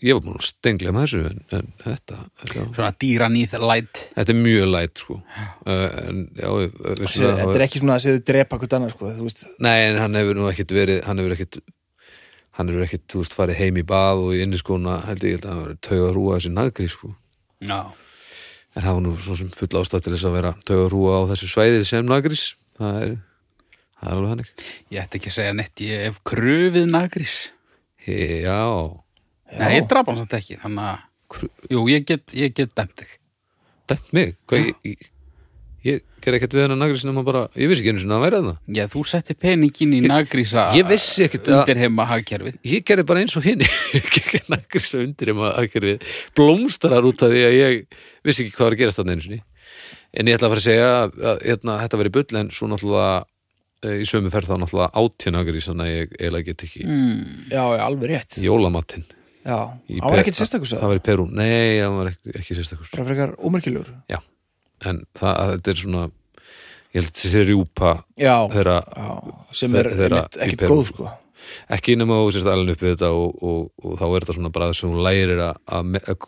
ég var búin að stengla með þessu en, en þetta, þetta, svona dýranýð light þetta er mjög læt sko uh, en já, Sér, vissulega, þetta er ekki svona að séðu drepa hvort annað sko, þú veist, Nei, en hann hefur nú ekkit verið hann hefur ekkit hann hefur ekkit, þú veist, farið heim í bað og í inniskóna held ég, ég held að hann hefur tauga rúa þessi nagri, sko, já, en það var nú svo sem full ástætt til þess að vera tauga rúa á þessu svæði sem nagris, það er það er alveg hannig, ég ætti ekki að segja neitt ég hef kröfið nagrís He, já Nei, ég draf hann samt ekki, þannig að Jú, ég get, ég get dæmt þig dæmt mig, hvað ég ég, ég ger ekkert við hennar nagris nema um bara, ég vissi ekki einu sinni að hann væri það Já, þú setti peningin í nagrísa ég vissi ekkit að, undir heima hagkerfið ég gerði bara eins og hinn nagris að undir um aðgerði blómstarar út af því að ég vissi ekki hvað var að gerast þarna einu sinni en ég ætla að fara að segja að, að hérna, þetta veri bull en svo náttúrulega eh, í sömu ferð þá náttúrulega átján agris þannig að ég eiginlega get ekki mm. já, já, alveg rétt já, jólamattin hann var ekkert sérstakur svo, það var í Perú, nei, það var ekki, ekki sérstakur bara frekar ómerkilegur já, en það, að þetta er svona ég held að þessi rjúpa já, þeirra já, sem er þe- þeirra einmitt í ekki Perú, góð sko, ekki nema þú sérst alveg upp við þetta og, og, og þá er þetta svona bara sem hún lærir að, að, me- að,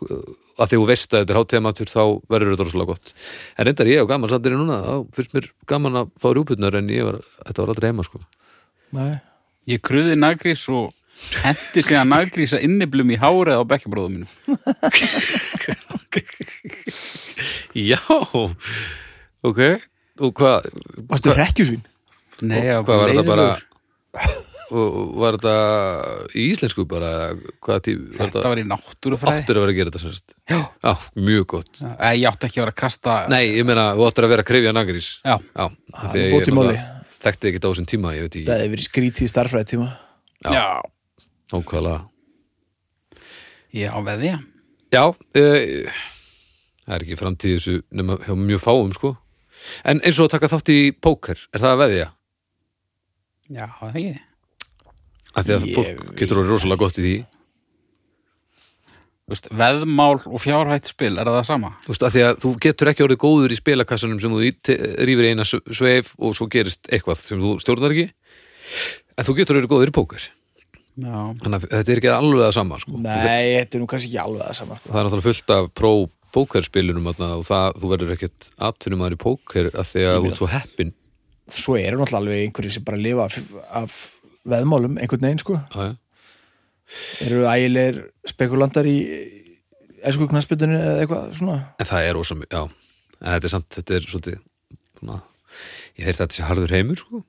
að því hún veist að þetta er hátíðamatur þá verður þetta rosalega gott en reyndar ég og gaman samt er ég núna þá finnst mér gaman að fá rjúputnar en ég var, þetta var aldrei heima sko nei, Ég kröfið nagrís og hendi síðan nagrísa inniblum í hárið á bekkjabróðum mínum já, ok og hvað varstu rekkjusvín Nei, ég var hvað var þetta bara leiðinlegur. og, og var þetta í íslensku bara eða hvað tí, var Þetta þetta var í náttúrufræði aftur að vera að gera þetta sérst Já, já, mjög gott Eh, ég átti ekki að vera að kasta Nei, ég meina, þú áttur að vera að krifja nagrís Já, Já, af því að er ég bót í máli. náttúrulega þekkti ekkert á þessum tíma, ég veit ekki það hefur verið skrítið starfræði tíma Já. já, nákvæmlega. ég á veðja Já, uh, það er ekki framtíð þessu nema hjá mjög fáum, sko. En eins og að taka þátt í póker, er það að veðja? Já, það er ekki Af því að Ég fólk getur orðið rosalega gott í því. Þú veist, Veðmál og fjárhætt spil, er það sama? Þú veist, af því að þú getur ekki orðið góður í spilakassanum sem þú í- te- rífur í eina s- sveif og svo gerist eitthvað sem þú stjórnar ekki. En þú getur orðið góður í póker. Já, Þannig að þetta er ekki alveg að sama, sko. nei, þetta er nú kannski ekki alveg það sama sko. það er náttúrulega fullt af pró pókerspilunum þarna og það, þú verður ekkert atvinnum aðri póker af því að þú ert svo heppin svo eru náttúrulega alveg einhverjir sem bara lifa af, af veðmálum einhvern veginn sko Já, já. eru ægilegir spekulantar í esku knassbytunni eða eitthvað svona en það er ósam, já en þetta er samt, þetta er svolítið svona, ég heyrði þetta sé harður heimur sko.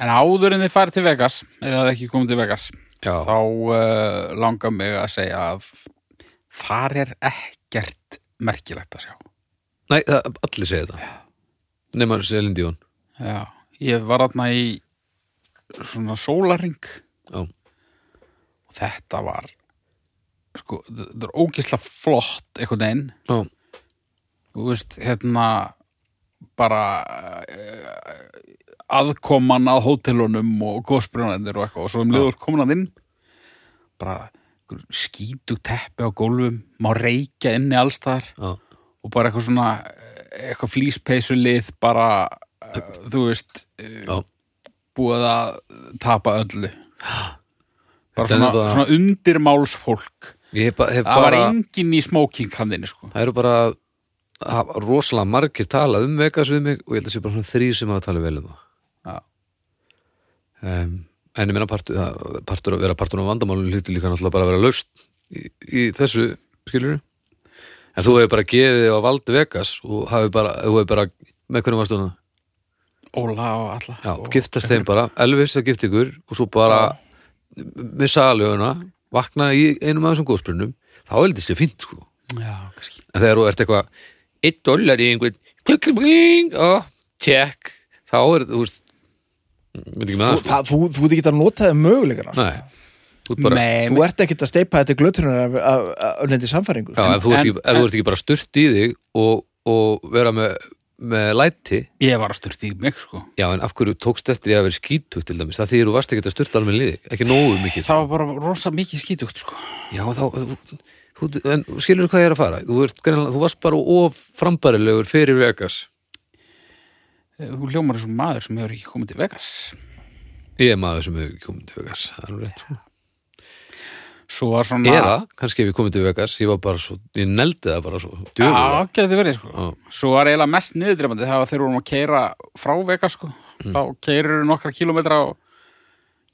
en áður en þið farið til Vegas eða það ekki komið til Vegas já, þá uh, langar mig að segja að þar er ekkert merkilegt að sjá. nei, það, allir segja þetta nema Selin Díón Já, ég var aðna í svona sólaring já, og þetta var sko, þetta er ógislega flott einhvern veginn, já, þú veist, hérna bara uh, aðkoman að hótelunum og góðsbrjónandir og eitthvað og svo um liður komin að inn bara skítu teppi á gólfum má reykja inni allstaðar já. og bara eitthvað svona eh, eitthvað flýspeysulið bara uh, þú veist uh, Já. búið að tapa öllu bara Þetta er svona, bara- svona undirmálsfólk ég hef, ba- hef það var bara enginn í smókinghandinni sko. það eru bara hafa rosalega margir talað um Vegas við mig og ég held að sé bara svona þrý sem hafa talað vel um það Já. um, en ég meina partur, það- partur að vera partur á vandamálun hluti líka náttúrulega bara að vera laust í, í þessu skilur en þú hefur bara gefið þig á vald Vegas og hafi bara, þú hefur bara með hvernig varst hún Óla og alla Já, og, giftast þeim bara, Elvis að gift ykkur og svo bara missa aðlöguna, vakna í einum af þessum góðsprunum, þá er þetta sér fínt sko já, kannski En þegar þú ert eitthvað einn dólar í einhvern klik, klik, bling, og tjekk þá er þú veist mynd ekki með þú, það sko það, þú, þú ert ekki að nota það möguleikana sko. Nei, þú ert bara, Nei, þú ert ekki að steipa þetta glötunar af, af, af öllindi samfæringu já, sko. ef þú ert en- ekki, ef þú ert ekki bara sturt í þig og, og vera með, með læti ég var að styrta í mig sko. já, en af hverju tókst eftir ég að vera skítugt til dæmis, það þýðir þú varst ekki að sturt alveg liði, ekki nógu mikið það var bara rosa mikið skítugt sko. já, þá, þú, þú, en skilur hvað ég er að fara þú, ert, greinilega- þú varst bara of frambarilegur fyrir Vegas Eh, þú hljómar þessum maður sem hefur ekki komið til Vegas ég er maður sem hefur ekki komið til Vegas það er nú rétt sko svo var svona Eða, kannski ef ég komið til Vegas, ég var bara svo, ég neldi það bara svo, djöfulega. Já, getur verið sko Svo var eiginlega mest niðurdrefandi þegar þeir vorum að keira frá Vegas sko Þá keirur nokkra kílómetra og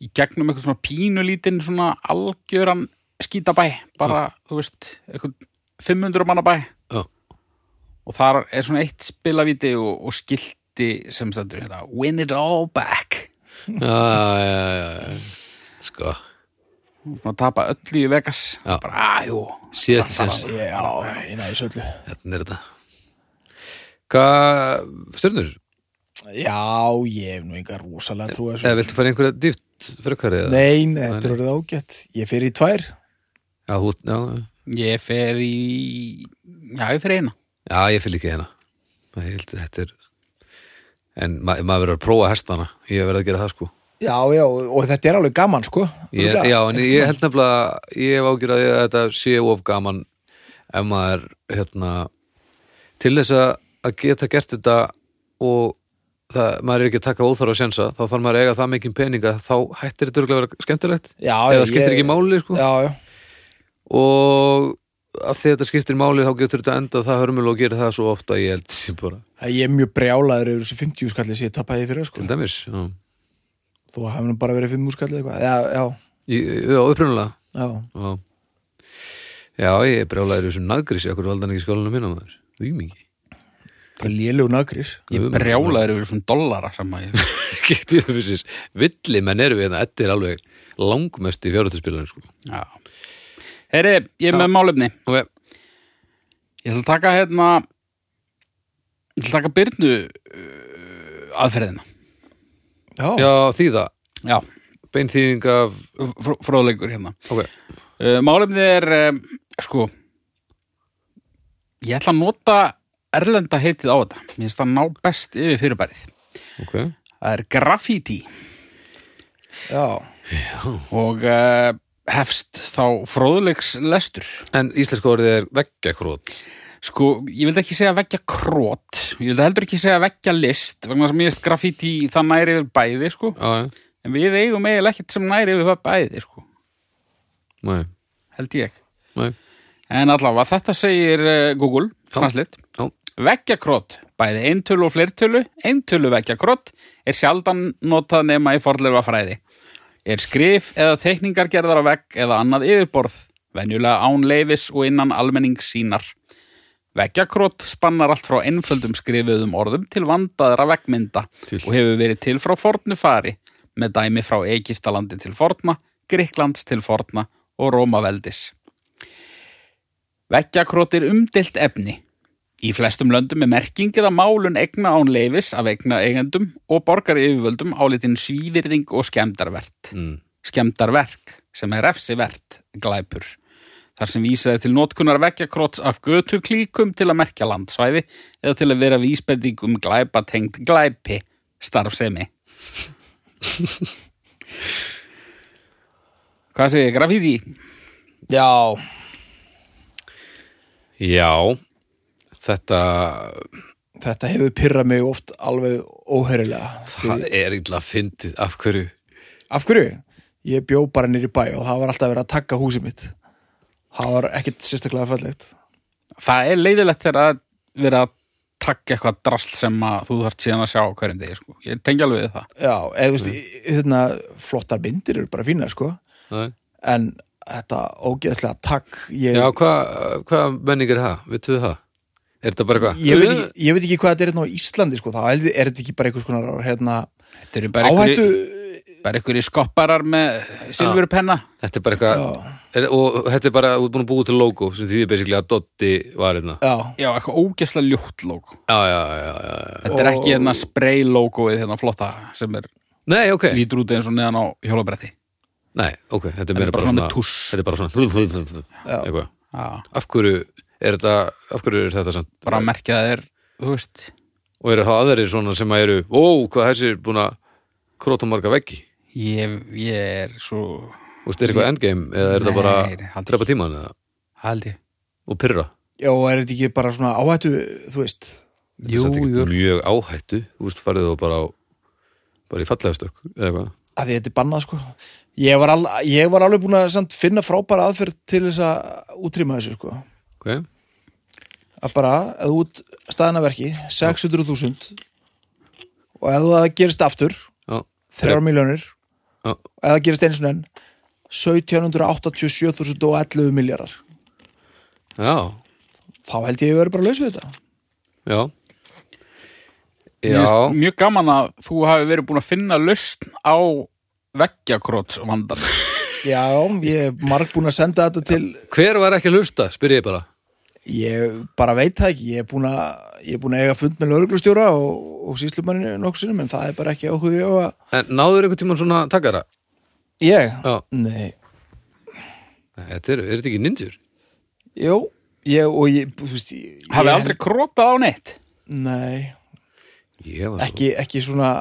í gegnum eitthvað svona pínulítinn svona algjöran skítabæ bara, þú veist, eitthvað 500 manna bæ Já. og þar er svona eitt spilavíti og, og skilti sem stendur hérna Win it all back Já, já, já, já, sko, og tapa öllu í Vegas Já. bara, að jú, síðasti sens, Já, ég næði svolítið hérna er þetta. Hvað, stjörnur, Já, ég hef nú engar rosalega trú að eða þessu viltu fara í einhverja dýft frekar eða? Nei, nei, þetta er orðið ágætt Ég fyrir í tvær Já, þú, já, já. ég fer í já, ég fer í eina já, ég fylg ekki hérna. Ég held að þetta er, en ma maður verður að prófa hestana, ég verður að gera það sko. Já, já, og þetta er alveg gaman, sko Ég, Örugglega. já, en ég held nefnilega ég hef ágjur að því að þetta sé of gaman ef maður hérna, til þess að að geta gert þetta og það, maður er ekki að taka óþar á sensa þá þarf maður að eiga það mikið peninga þá hættir þetta örugglega að vera skemmtilegt já, eða já, skiptir ég- ekki máli sko Já, já, og að því þetta skiptir máli þá getur þetta endað það hörmul og gerir það svo ofta ég held sem bara, Það ég er mjög brjálaður yfir þessu 50 skalli sem ég tappaði fyrir, sko til dæmis já, Þú hafði nú bara verið 5 skalli eitthvað Já, já, Ég- já upprunalega já já. já, ég brjálæður þessum nagris, okkur valdan ekki skólanum minna maður, því mikið Bara lélug nagris ég brjálaður yfir svona dollara sem að ég get ég fyrir sér villi menn eru við hérna, þetta er alveg langmest í fjárhættuspilarinn sko. já. Heri, ég er með málefni ok, ég ætla að taka hérna ég ætla að taka byrnu uh, aðferðina Já, já þýða já, beinþýðing af fr fróðleikur hérna ok, uh, málefni er um, sko ég ætla að nota erlenda heitið á þetta mér finnst það ná best yfir fyrirbærið ok það er graffiti já og uh, hefst þá fróðleiks lestur en íslenska orðið er veggjakrót Sko, ég vildi ekki segja veggja krót, ég vildi heldur ekki segja veggja list, vegna sem ég veist graffíti það næri yfir bæði, sko. já, já, En við eigum eiginlega ekkert sem næri yfir bæði, sko, næ, held ég. næ En allavega, þetta segir uh, Google, Já. franslitt. Já. Veggja krót, bæði eintölu og fleirtölu, eintölu veggja krót, er sjaldan notað nema í forðlega fræði. Er skrif eða teikningar gerðar á vegg eða annað yfirborð, venjulega án leifis og innan almenning sínar. Veggjakrót spannar allt frá einföldum skrifuðum orðum til vandaðra veggmynda Til. og hefur verið til frá fornu fari með dæmi frá Egiptalandi til forna, Grikklands til forna og Rómaveldis. Veggjakrót er umdilt efni. Í flestum löndum er merking eða málun egna án leifis af egna eigendum og borgar yfirvöldum álitin svívirðing og skemmdarvert mm. skemmdarverk sem er refsivert glæpur. Þar sem vísaði til notkunar vekkjakrots af götu klíkum til að merkja landsvæði eða til að vera vísbending um glæpa tengt glæpi starfsemi. Hvað segir ég? Graffiti? Já, já, þetta þetta hefur pyrrað mig oft alveg óherilega það er illa fyndið af hverju Af hverju? Ég bjó bara nýri bæ og það var alltaf verið að taka húsið mitt Það var ekkit sérstaklega fallegt Það er leiðilegt þegar að vera að taka eitthvað drasl sem að þú þarft síðan að sjá á hverjum degi. Sko. Ég tengi alveg við það. Já, eða þú veist, í- hérna, flottar myndir eru bara fínar, sko Nei. en þetta ógeðslega takk ég, já, hvað hva menning er það, vittu það er þetta bara eitthvað ég, veit ekki, ég veit ekki hvað þetta er hérna á Íslandi, sko, þá er er þetta ekki bara einhvers konar hérna, Þetta eru bara áhættu einhverjir- bara einhverjir skopparar með silfurpenna. þetta er bara eitthvað er, og þetta er bara, þú ert búin að búið til logo sem þýðir basically að Dotti var hérna Já, Já, eitthvað ógesla ljótt lók. já, já, já, já, já. Þetta er Og- ekki hérna spray logoið hérna flotta sem er nei, ok, lítur út eins og neðan á hjólabretti. Nei, ok, þetta er Þetta meira er bara bara svona svona með tuss. Þetta er bara svona eitthvað. Já, Af hverju er þetta af hverju er þetta samt? bara að merkja það er, þú veist, Og eru það aðrir svona sem að eru Ó, hvað þessi er búin að króta marga veggi ég, ég er svo, Þú veist, er eitthvað endgame eða er þetta Nei, bara haldið. drepa tíman eða held ég. og pyrra já, og er þetta ekki bara svona áhættu þú veist, Þetta er samt ekkert mjög áhættu Þú veist, farið þá bara á bara í fallegastök eða eitthvað að því þetta er bannað sko ég var, al, ég var alveg búin að samt, finna frábæra aðferð til þess að útrýma þessu sko okay. að bara, eða út staðanaverki 600.000 og eða það gerist aftur já, 3 miljónir Já. og eða það gerist eins og enn 1787.011 miljardar já, þá held ég að ég verið bara að lausa við þetta já Mér já, finnst mjög gaman að þú hafi verið búin að finna lausn á veggjakróts vandan já, ég er marg búin að senda þetta til hver var ekki að hlusta, spyr ég bara ég bara veit það ekki ég er búin að, ég er búin að eiga fund með lauruglustjóra og, og síslumanninu nokksinum en það er bara ekki áhuga á að en náður einhvern tímann svona takara ég, já, nei þetta er, er þetta ekki ninjur Jó, ég og ég, þú veist ég, hafi ég- aldrei krótað á neitt Nei, ég var svo, ekki, ekki svona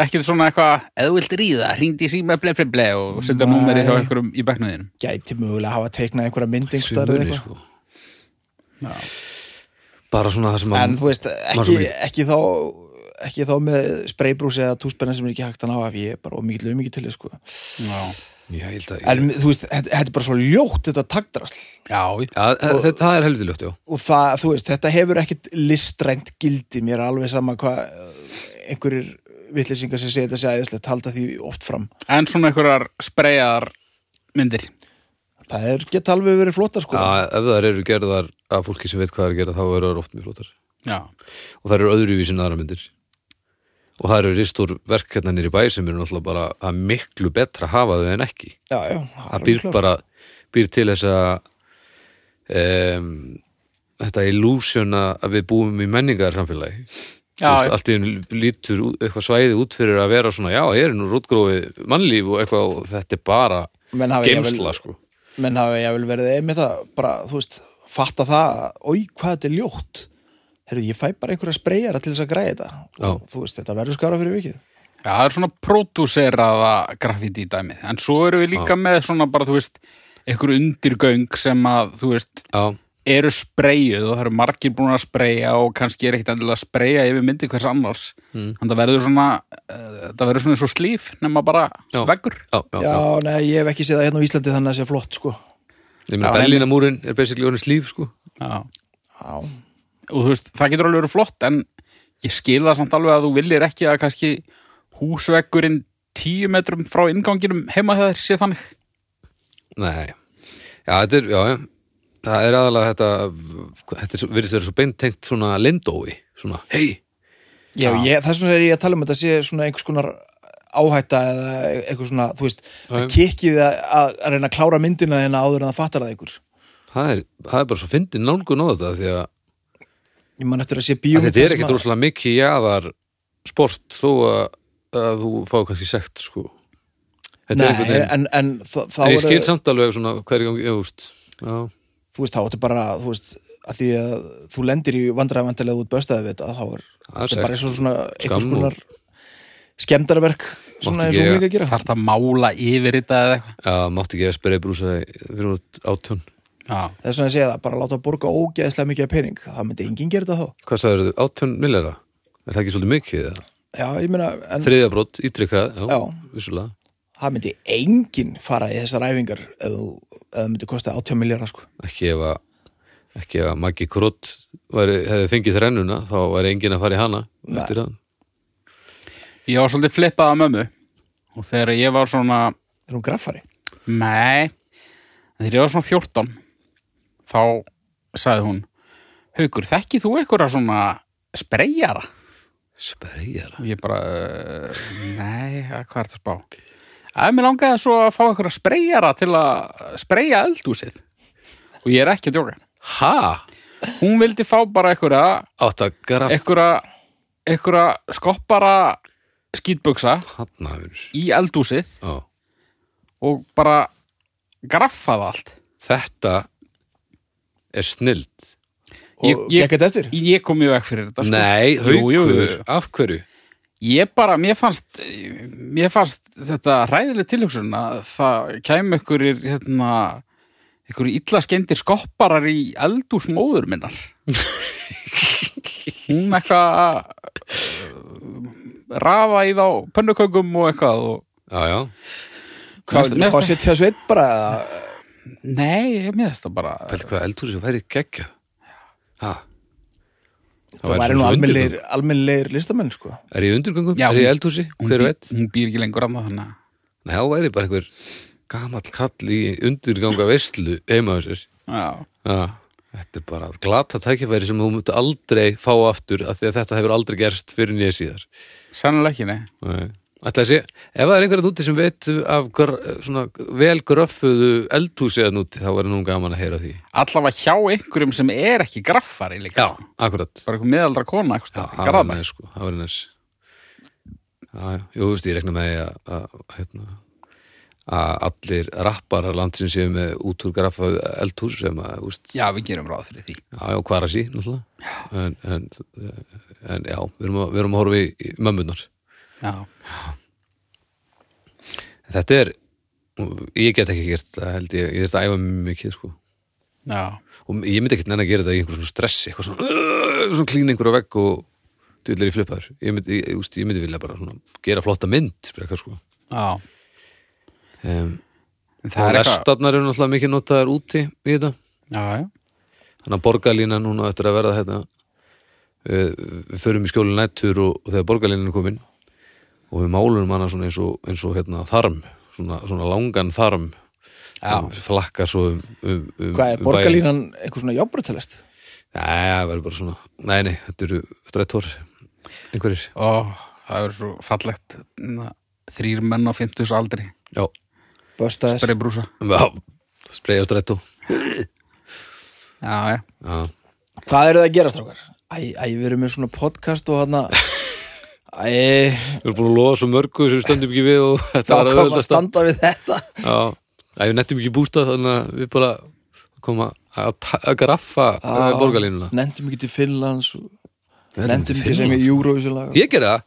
ekkert svona eitthvað, eða þú vilt ríða hringdi í síma ble ble ble og setja númerið hjá einhverjum í bekknuðinum gæti mögulega hafa teiknað einhverja mynd einhvers staðar sumurni eða eitthvað. sko Já. bara svona það sem En að þú veist, svo ekki, mikill. ekki þá ekki þá með spraybrúsi eða túspenna sem er ekki hægt að ná af ég er bara ómikið umikið til þess, sko. já, ég held að En þú veist, þetta, þetta er bara svo ljótt þetta takdrasl já, Já, þetta það er helviti ljótt, já og það, þú veist, þetta hefur ekkit listrænt gildi, mér er alveg sama hvað eh, einhverjir vitlýsingar sem segja þetta sé æðislegt, halda því oft fram en svona einhverjar spreyjaðar myndir það er gett alveg verið flóta, sko Já, ef það eru gerðar af fólki sem veit hvað það er að gera þá eru það oft mjög flottar já, og það eru öðruvísin aðra myndir og það eru ristur verk hérna nýri bæ sem eru náttúrulega bara að miklu betra hafa þau en ekki Já, já, það það er býr klárt. bara býr til þess að um, þetta illusion að að við búum í menningar samfélagi Já, já. allt í einu lítur út- eitthvað svæði út fyrir að vera svona já, ég er nú rútgrófið mannlíf og eitthvað og þetta er bara Menn hafa geimsla sko menn hafa ég vel verið einmitt að bara, þú veist, fatta það oi, hvað þetta er ljótt Heyrðu, ég fæ bara einhverja spreyjara til þess að græja þetta Já. og þú veist, þetta verður skára fyrir vikið já, það er svona pródúseraða graffiti dæmið, en svo erum við líka með svona bara, þú veist, einhver undirgöng sem að, þú veist, já, eru spreyjuð og það eru margir búin að spreyja og kannski er ekkert endilega að spreyja yfir myndi hvers annars mm. en það verður svona uh, það verður svona svo slíf nema bara Já. veggur já, já, já, já. nei, ég hef ekki séð það hérna á Íslandi þannig að sé flott, sko ég meina Já, Berlínamúrin er basically honest líf sko Já. já, og þú veist, það getur alveg verið flott en ég skil það samt alveg að þú viljir ekki að kannski húsveggurinn tíu metrum frá inganginum heima þegar sé þannig Nei, já, þetta er, já, já, það er aðalega þetta, þetta er svo- virðist þeirra svo beintengt svona lindói, svona, hei, já, ég, þess vegna er ég að tala um þetta sé svona einhvers konar áhætta eða eitthvað svona, þú veist Já. að kikkið að, að, að reyna að klára myndina þeirna áður en það fattar það einhver það er, það er bara svo fyndin nálgun á þetta því að, ég man eftir að sé að bíómynd þetta er þar sem ekkit að- rosalega mikið jaðar sport þó að, að þú fá kannski sekt, sko. Þetta er einhvern Nei, veginn, en, en, en þa- þá ég skil eru- samt alveg svona hverju gangi, ég veist, já, þú veist, þá ertu bara, þú veist, að því að þú lendir í vandræðavandilega út böstaði við þetta, þá er Það er þetta er bara sært. eins og svona einhvers Skam og- konar skemmdarverk svona Mátti eins og ekki hún líka að gera þarf það mála yfir þetta eða eitthvað já, mátti ekki að sperja brúsa fyrir út átjón. Já. þess vegna að segja það, bara láta borga ógeðslega mikið af pening, það myndi enginn gera þetta þá Hvað sagður þau, átjón millera? Er það ekki svolítið mikið? eða? já, ég meina, en Þriðjabrot, ítrykkað, já, Já. vissulega. það myndi enginn fara í þessar æfingar eða það myndi kosta 80 miljardar sko. ekki ef að ekki ef að Maggi Krott væri, hefði fengið þrennuna þá væri enginn að fara í hana eftir hann ég var svolítið flippað af mömmu og þegar ég var svona er hún graffari? Nei, en þegar ég var svona 14 þá sagði hún Haukur, þekkið þú einhverja svona spreyjara? Spreyjara Og ég bara, uh, nei, að hvað er það spá? Að mér langaði svo að fá einhverja spreyjara til að spreyja eldhúsið og ég er ekki að djóka Ha? Hún vildi fá bara einhverja Átt að graf einhverja, einhverja skoppara skýtbuksa Hannafur í eldhúsið og bara graffaði allt Þetta er snild og Ég- ég- gekk þetta eftir? Ég kom mjög vekk fyrir þetta sko. Nei, Jú, haukur, jú, jú. af hverju? Ég bara, mér fannst mér fannst þetta ræðileg tilhugsun að það kæmi ykkur hérna, ykkur illa skemmtir skopparar í eldús móður minnar Hún eitthvað að uh, rafa í þá pönnukökum og eitthvað og já, já, Hvað Mest- vildu mest- fá að setja þessu einn bara eða Nei, ég með þetta bara pæli hvað eldhúsi væri geggja ha það væri nú almennilegir, almennilegir listamenn sko. Er ég í undirgöngum? Já, er ég í hún- eldhúsi? hún, Hver býr- veit? hún býr ekki lengur annað þannig að- Nei, þá væri bara einhver gamall kall í undirganga veistlu heima á sér. Já, Já, þetta er bara glata tækifæri sem þú mútu aldrei fá aftur af því að þetta hefur aldrei gerst fyrir nýja síðar. sennilega ekki, nei Ætla að sé, ef það er einhverjum úti sem veit af gr svona vel gröffuðu eldhúsi að núti, þá verður nú gaman að heyra því. Allavega hjá einhverjum sem er ekki graffari líka sko. akkurat. Bara einhver meðaldra kona, Já, eitthvað, það verður graðbæk næs, sko, það verður næs. Já, já, jú, þú veist, ég rekna með því að, að, hérna, að allir rapparar landsin séu með útúrgrafaðu eldhús sem að, þú veist, Já, við gerum ráð fyrir því Já, já, hvar að sí, náttúrulega en, en, en já, við erum að, við erum að horfa í, í mömmunar Já, Þetta er, ég get ekki gert það held ég, ég þetta æfa mjög mikið sko. já, og ég myndi ekki nenni að gera þetta í einhver svona stressi, eitthvað svona "Ugh", svona klín einhver á vegg og dullir í flippaður ég myndi, ég, úst, ég myndi vilja bara svona gera flotta mynd sprekar, sko. já um, En Það er restarnar eru náttúrulega mikið notaðar úti í þetta Já, já, þannig að borgarlína núna eftir að verða hérna við, við förum í skjóli nættur og, og þegar borgarlínan er komin og við málum hana svona eins og, eins og hérna, þarm, svona, svona langan þarm Já. sem flakkar svo um, um, um hvað er um borgarlínan eitthvað svona jábrutalist bæinn. Nei, það verður bara svona, nei, nei, þetta eru strættor, einhverjir ó, það er svo fallegt na, Þrýr menn á 50 aldri Já, böstaðir, Spreybrúsa já spreyja strættó Já, já, Já, hvað eru það að gera strákar? Æ, æ, við erum með svona podcast og hann að Æ, við erum búin að lofa svo mörgu sem við stöndum ekki við og þetta það var kom að auðvitað standa við þetta Já, að við nettum ekki bústað þannig að við bara koma að, ta- að graffa Já. borgarlínuna Nefndum ekki til Finnlands og- Við nenntum til Nefndum ekki sem í Finnlands. Eurovision lag Ég gerði það,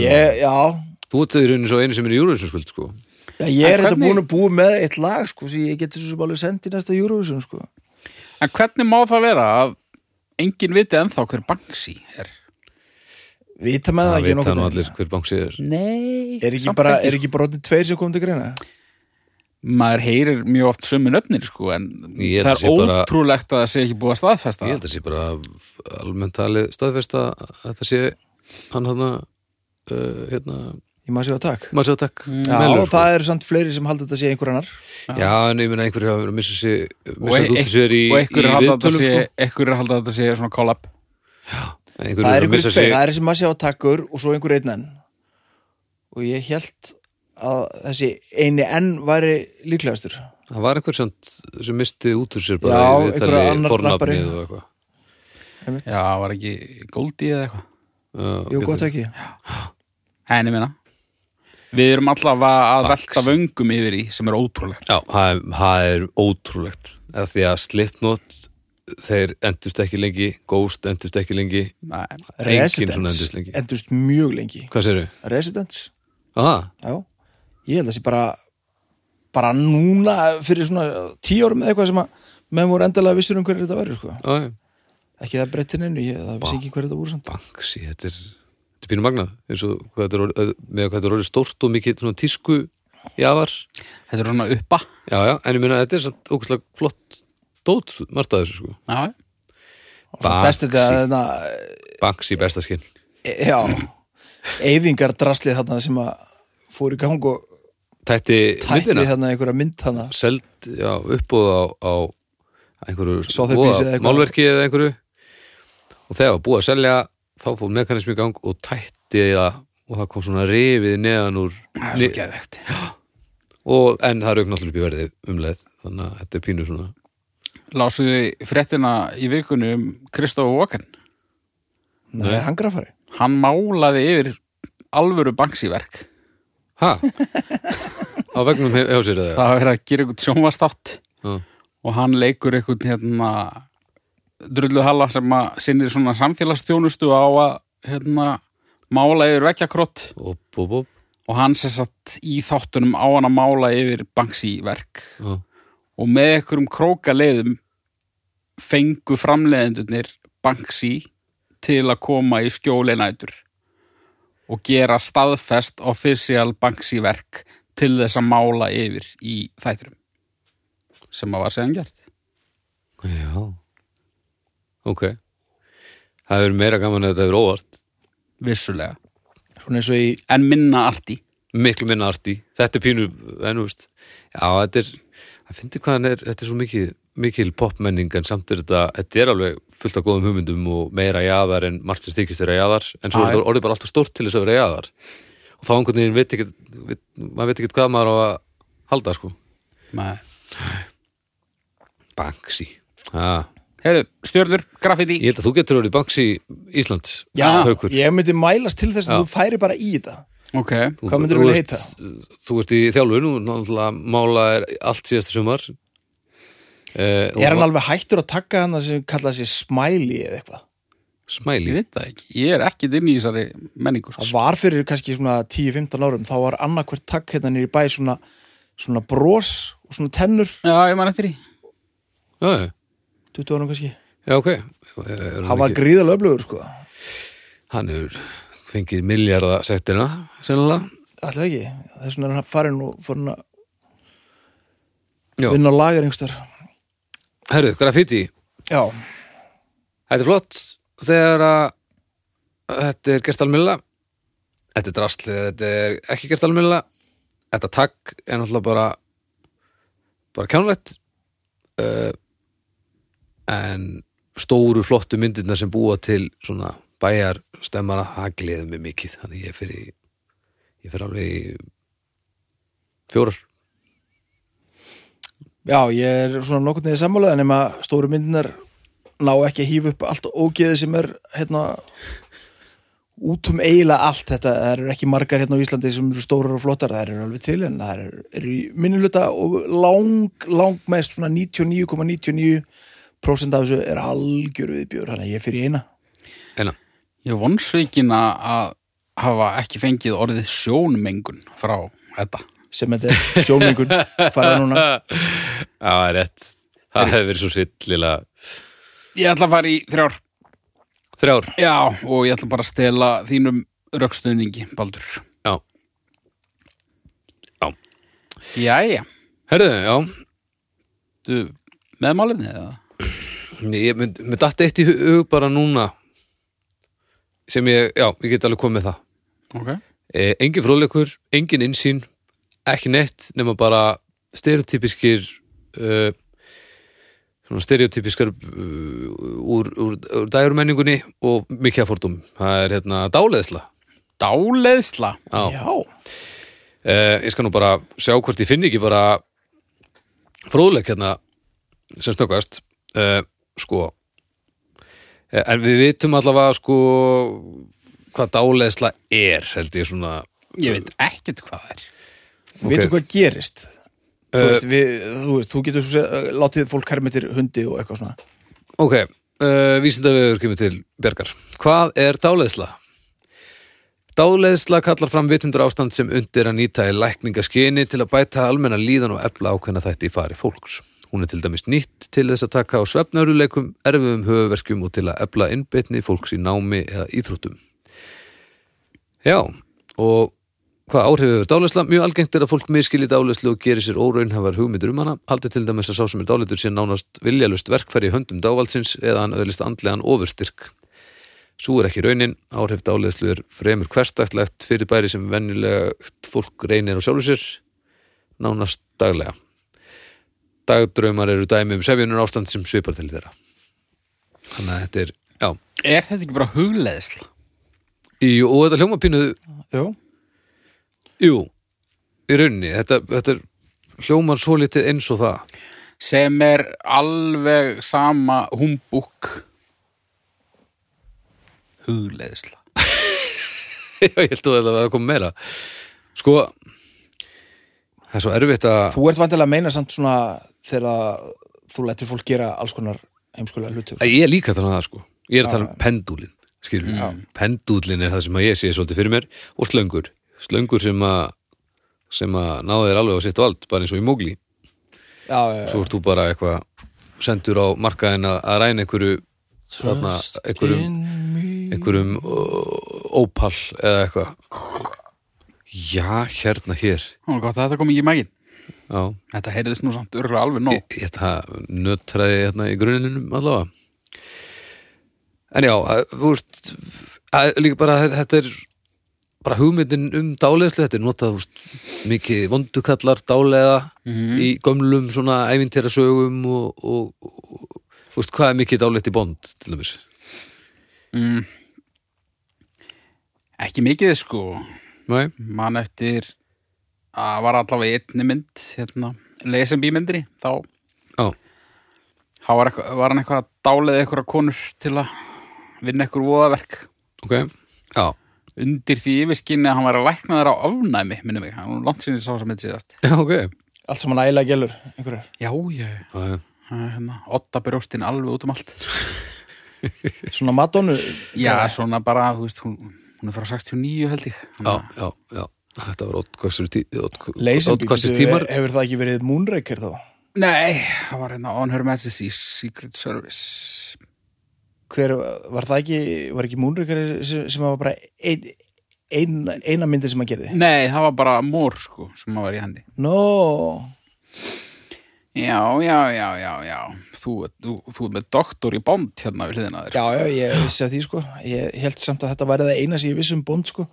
Ég, já, þú ert í rauninni svo einu sem er í Eurovision skuld sko Já, ég er En þetta hvernig- búin að búa með eitt lag sko, sem ég geti svo sem alveg sendið í næsta Eurovision sko. En hvernig má það vera að enginn viti ennþá hver Banksy er? Vita með það Það ekki veit það nú nokkuð allir hver banksi er Nei Er ekki bara, sko. er ekki bara orðin tveir sem kom til greina? Maður heyrir mjög oft sömu nöfnir sko en Ég held það að sé er bara- ótrúlegt að það sé ekki búið að staðfesta Ég held að sé bara almennt talið staðfesta að þetta sé hann hann uh, hérna, Ég maður séu að takk maður sér takk Mm. Já, Mellur, sko. það eru samt fleiri sem halda þetta sé einhver annar Já, en ég meina einhverju hafa verið að missa sig og, missa e út úr sér í, og í einhverjir halda að þetta viðtölum sé, sko. einhverjir halda að þetta sé svona collab Einhverjir Það eru er að missa einhverjir tveir, sig það er sem maður séu að takkur og svo einhver einn enn Og ég held að þessi eini enn væri líklegastur Það var einhver sem, sem misti út úr sér bara Já, í einhver viðtali annar rappari. fornafnið og eitthvað einmitt. já, var ekki Goldie eða eitthvað Já, Jú, getur- gott ekki en ég minna við erum allavega að Banksy. velta vöngum yfir í sem er ótrúlegt Já, það er, það er ótrúlegt að því að Slipknot þeir endust ekki lengi, Ghost endust ekki lengi Nei. enginn svona Residence, endust lengi endust mjög lengi Hvað sérðu? Residence Aha, Já, ég held að sé bara bara núna fyrir svona tíu árum eða eitthvað sem að menn voru endalega vissur um hverju þetta verður sko. á, já, ekki það breytin inn, ég, það vissi ekki hverju þetta voru samt. Banksy, þetta er þetta er pínu magnað, eins og hvað þetta er orðið- með hvað þetta er orðið stórt og mikið svona tísku jafar, þetta er svona uppa já já, en ég meina þetta er samt ókvæslega flott dót, margt að þessu sko já, Og svona best þetta að þarna, Banksy besta skinn e- já eyðingar draslið þarna sem að fór í gang og Tætti tætti hérna. myndina, þarna einhverja mynd þarna seld, já, uppbúð á, á einhverju Sotheby's voða- eða eitthvað. málverki eða einhverju og þegar var búið að selja þá fór mekanismi í gang og tætti það og það kom svona rifið neðan úr það er svo geðvegt og, en það rauk náttúrulega upp í verði um leið þannig að þetta er pínu svona lásuðu fréttina í vikunni um Kristof Walken það er hangrafari hann málaði yfir alvöru Banksy verk ha? á vegnum hjá sér eða það var verið að gera eitthvað sjónvastátt Já. og hann leikur einhvern hérna drulluhalla sem að sinnir svona samfélagsþjónustu á að hérna mála yfir vekkjakrott Op, op, op. og hann sér satt í þáttunum á hann að mála yfir Banksy verk Já. og með einhverjum krókaleiðum fengu framleiðendurnir Banksy til að koma í skjóli nætur og gera staðfest official Banksy verk til þess að mála yfir í þætturum sem að var séðan gert Já Ok Það hefur meira gaman að þetta hefur óvart vissulega, svona eins og í en minna arti Miklu minna arti Þetta er pínu en, þú veist, Já, þetta er Það finnir hvað hann er Þetta er svo mikil, mikil popmenning en samt er þetta Þetta er alveg fullt af góðum hugmyndum og meira jaðar en margt sem þykist þeirra jaðar en svo Já, er já. þetta orðið bara alltaf stórt til þess að vera jaðar og þá einhvern veginn veit ekki maður veit ekki hvað maður á að halda sko Banksy ah. Heyrðu, stjörnur, graffiti Ég held að þú getur orðið Banksy Íslands Já, Ah, Haukur. ég myndi mælast til þess að þú færi bara í þetta ok, Þú- Hvað myndirðu þú vilja ert- Þú ert í þjálfun og náttúrulega mála er allt síðasta sumar eh, Er hann alveg hættur að taka hann sem kallað sér smiley eða eitthvað? ég Smæli veit það ekki ég er ekki inn í þessari menningu sko. Það var fyrir kannski svona 10-15 árum þá var annarkvært takk hérna nýri bæ svona, svona brós og svona tennur já, ég man eftir því Já, já, 20 árum kannski já, ok Eh, Er Það hann, var ekki, gríðalega öflugur sko hann hefur fengið miljarda settina sennilega Alltaf ekki, þess vegna er hann farin og farin að Já. vinna á lagar yngstar Herðu, graffiti Já, Þetta er flott þegar að þetta er gert almilla Þetta er drasl þegar þetta er ekki gert almilla Þetta takk er náttúrulega bara bara kjánlegt uh, en stóru flottu myndirnar sem búa til svona bæjar stemmara, það gleður mig mikið þannig ég fyrir ég fyrir alveg í fjórar já, ég er svona nokkurn veginn sammálaðan nema stóru myndinar ná ekki að hýfa upp allt ógeði sem er hérna út um eiginlega allt þetta það eru ekki margar hérna á Íslandi sem eru stórar og flottar það eru alveg til en það eru, eru í minniluta og lang, lang mest svona 99,99% af þessu er algjör viðbjör þannig að ég fyrir í eina enna, ég er vonsvikin að- að hafa ekki fengið orðið sjónmengun frá þetta sem þetta er sjónmengun farað núna já, það er rétt það hefur verið svo hryllilega ég ætla að fara í þrjár þrjár, já, og ég ætla bara að stela þínum rökstuðningi, Baldur já jæja, Herðu, já, þú með málefni eða? ég mynd, mynd datt eitt í hu- hug bara núna sem ég, já, ég get alveg komið með það ok, e, Engin fróðleikur, engin innsýn ekki neitt nema bara stereotypiskir uh, svona stereotypiskar uh, úr, úr, úr dægurmenningunni og mikið að fórdum það er hérna dáleðsla dáleðsla Já. já Eh, ég skal nú bara sjá hvort ég finn ekki bara fróðleik hérna sem snöggast eh, sko eh, en við vitum allavega sko hvað dáleðsla er held ég svona ég veit ekkert hvað það er okay. veitu hvað gerist þú, Eh, veist, við, þú veist, þú getur svo sé, látið fólk hermitir hundi og eitthvað svona ok, uh, vísindavegur kemur til Bjargar hvað er dáleðsla? Dáleðsla kallar fram vitundur ástand sem undir að nýta í lækningaskyni til að bæta almenna líðan og efla ákveðna þætti í fari fólks. Hún er til dæmis nýtt til þess að taka á svefnöruleikum, erfiðum höfuverkjum og til að efla innbytni fólks í námi eða íþróttum. Já, og hvað áhrif hefur dálæsla? Mjög algengt er að fólk miskilji dálæslu og gerir sér óraunhafar hugmyndur um hana, haldi til dæmis að sá sem er dálætur sé nánast viljalust verkfæri í höndum dávaldsins eða hann öðlist andlegan ofurstyrk. Sú er ekki raunin, áhrif dálæslu er fremur hverstætlegt fyrirbæri sem venjulegt fólk reynir á sjálfu sér, nánast daglega. Dagdraumar eru dæmi um sefjunur ástand sem svipar til þeirra. Þannig að þetta er, já, er þetta ekki bara hugleðsla? í, og þetta hljóma pínuðu Jó. Jú, í rauninni, þetta, þetta er hljómar svo litið eins og það. sem er alveg sama humbúk hugleðsla Já, ég held að þetta var að koma meira. Sko, það er svo erfitt að, þú ert vantilega að meina samt svona þegar þú lætur fólk gera alls konar heimskulega hlutur að ég er líka þannig að það sko. Ég er að tala um pendúlin, skilur. Pendúlin er það sem að ég sé svolítið fyrir mér og slöngur. Slöngur sem að, sem að náðu þér alveg á sitt vald, bara eins og í mógli. já, já, Svo ert þú bara eitthvað sendur á markaðin að, að ræna einhverju, þarna, einhverjum In me. einhverjum ó, ópall eða eitthvað já, hérna hér Það var gott að þetta kom ekki í mægin. já, Þetta heyrðist nú samt örgulega alveg nóg. ég, ég það nötraði hérna í gruninum allavega en já, að- þú veist að, líka bara að þetta er bara hugmyndin um dáleiðslu þetta er notað þú veist, mikið vondukallar dáleiða í gömlum svona ævintjara sögum og, og, og, og þú veist, hvað er mikið dáleitt í bond til dæmis Ekki mikið sko. Nei. Man eftir að var allavega í einni mynd, hérna, lesenbí myndri. Þá, Já, þá var, eitthva, var hann eitthvað að dálega eitthvað konur til að vinna eitthvað voðaverk. ok Já, Undir því yfirskinni að hann var að lækna þeirra á ofnæmi, minnum mig. Hann var langt sinni sá sem þetta síðast. já, ok já, allt saman ægilega gælur einhverjar. Já, já, já. já. Það er Hérna, otta brjóstin alveg út um allt. Svona Madonu Já, svona bara, þú veist, hún, hún er frá 69 held ég. já, já, já Þetta var óttkvæstur tí, ótt- Leysenby, óttkvæstur býttu, tímar hefur það ekki verið Moonraker þá? Nei, það var hérna On Her Majesty's Secret Service Hver, var það ekki, var ekki Moonraker sem, sem var bara ein, ein, eina myndi sem hann gerði? Nei, það var bara Mór sko sem var í henni No, Já, já, já, já, já Þú, þú, þú er með doktor í bond hérna við hliðina á þér já, já, ég vissi að því sko Ég held samt að þetta væri það eina sem ég vissi um Bond sko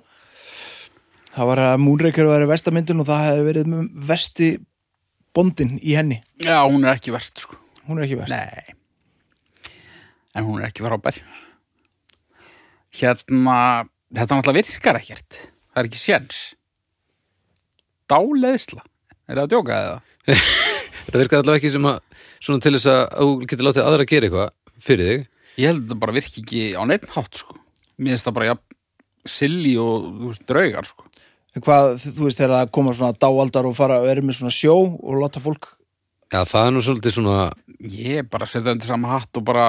Það var að Moonraker var vestamyndin og það hefði verið vesti Bondin í henni Já, hún er ekki verst sko Hún er ekki verst Nei En hún er ekki frábær Hérna, þetta náttúrulega virkar ekkert Það er ekki séns Dáleðsla Er það að djóka eða? Þetta virkar allavega ekki sem að svona til þess að þú getur látið aðra að gera eitthvað fyrir þig Ég held að þetta bara virki ekki á neitt hátt sko Mér finnst það bara jafn silly og þú veist, draugar sko En Hvað, þú veist, þegar það koma svona dáaldar og fara og eru með svona sjó og láta fólk Já, það er nú svolítið svona Ég bara setja undir sama hatt og bara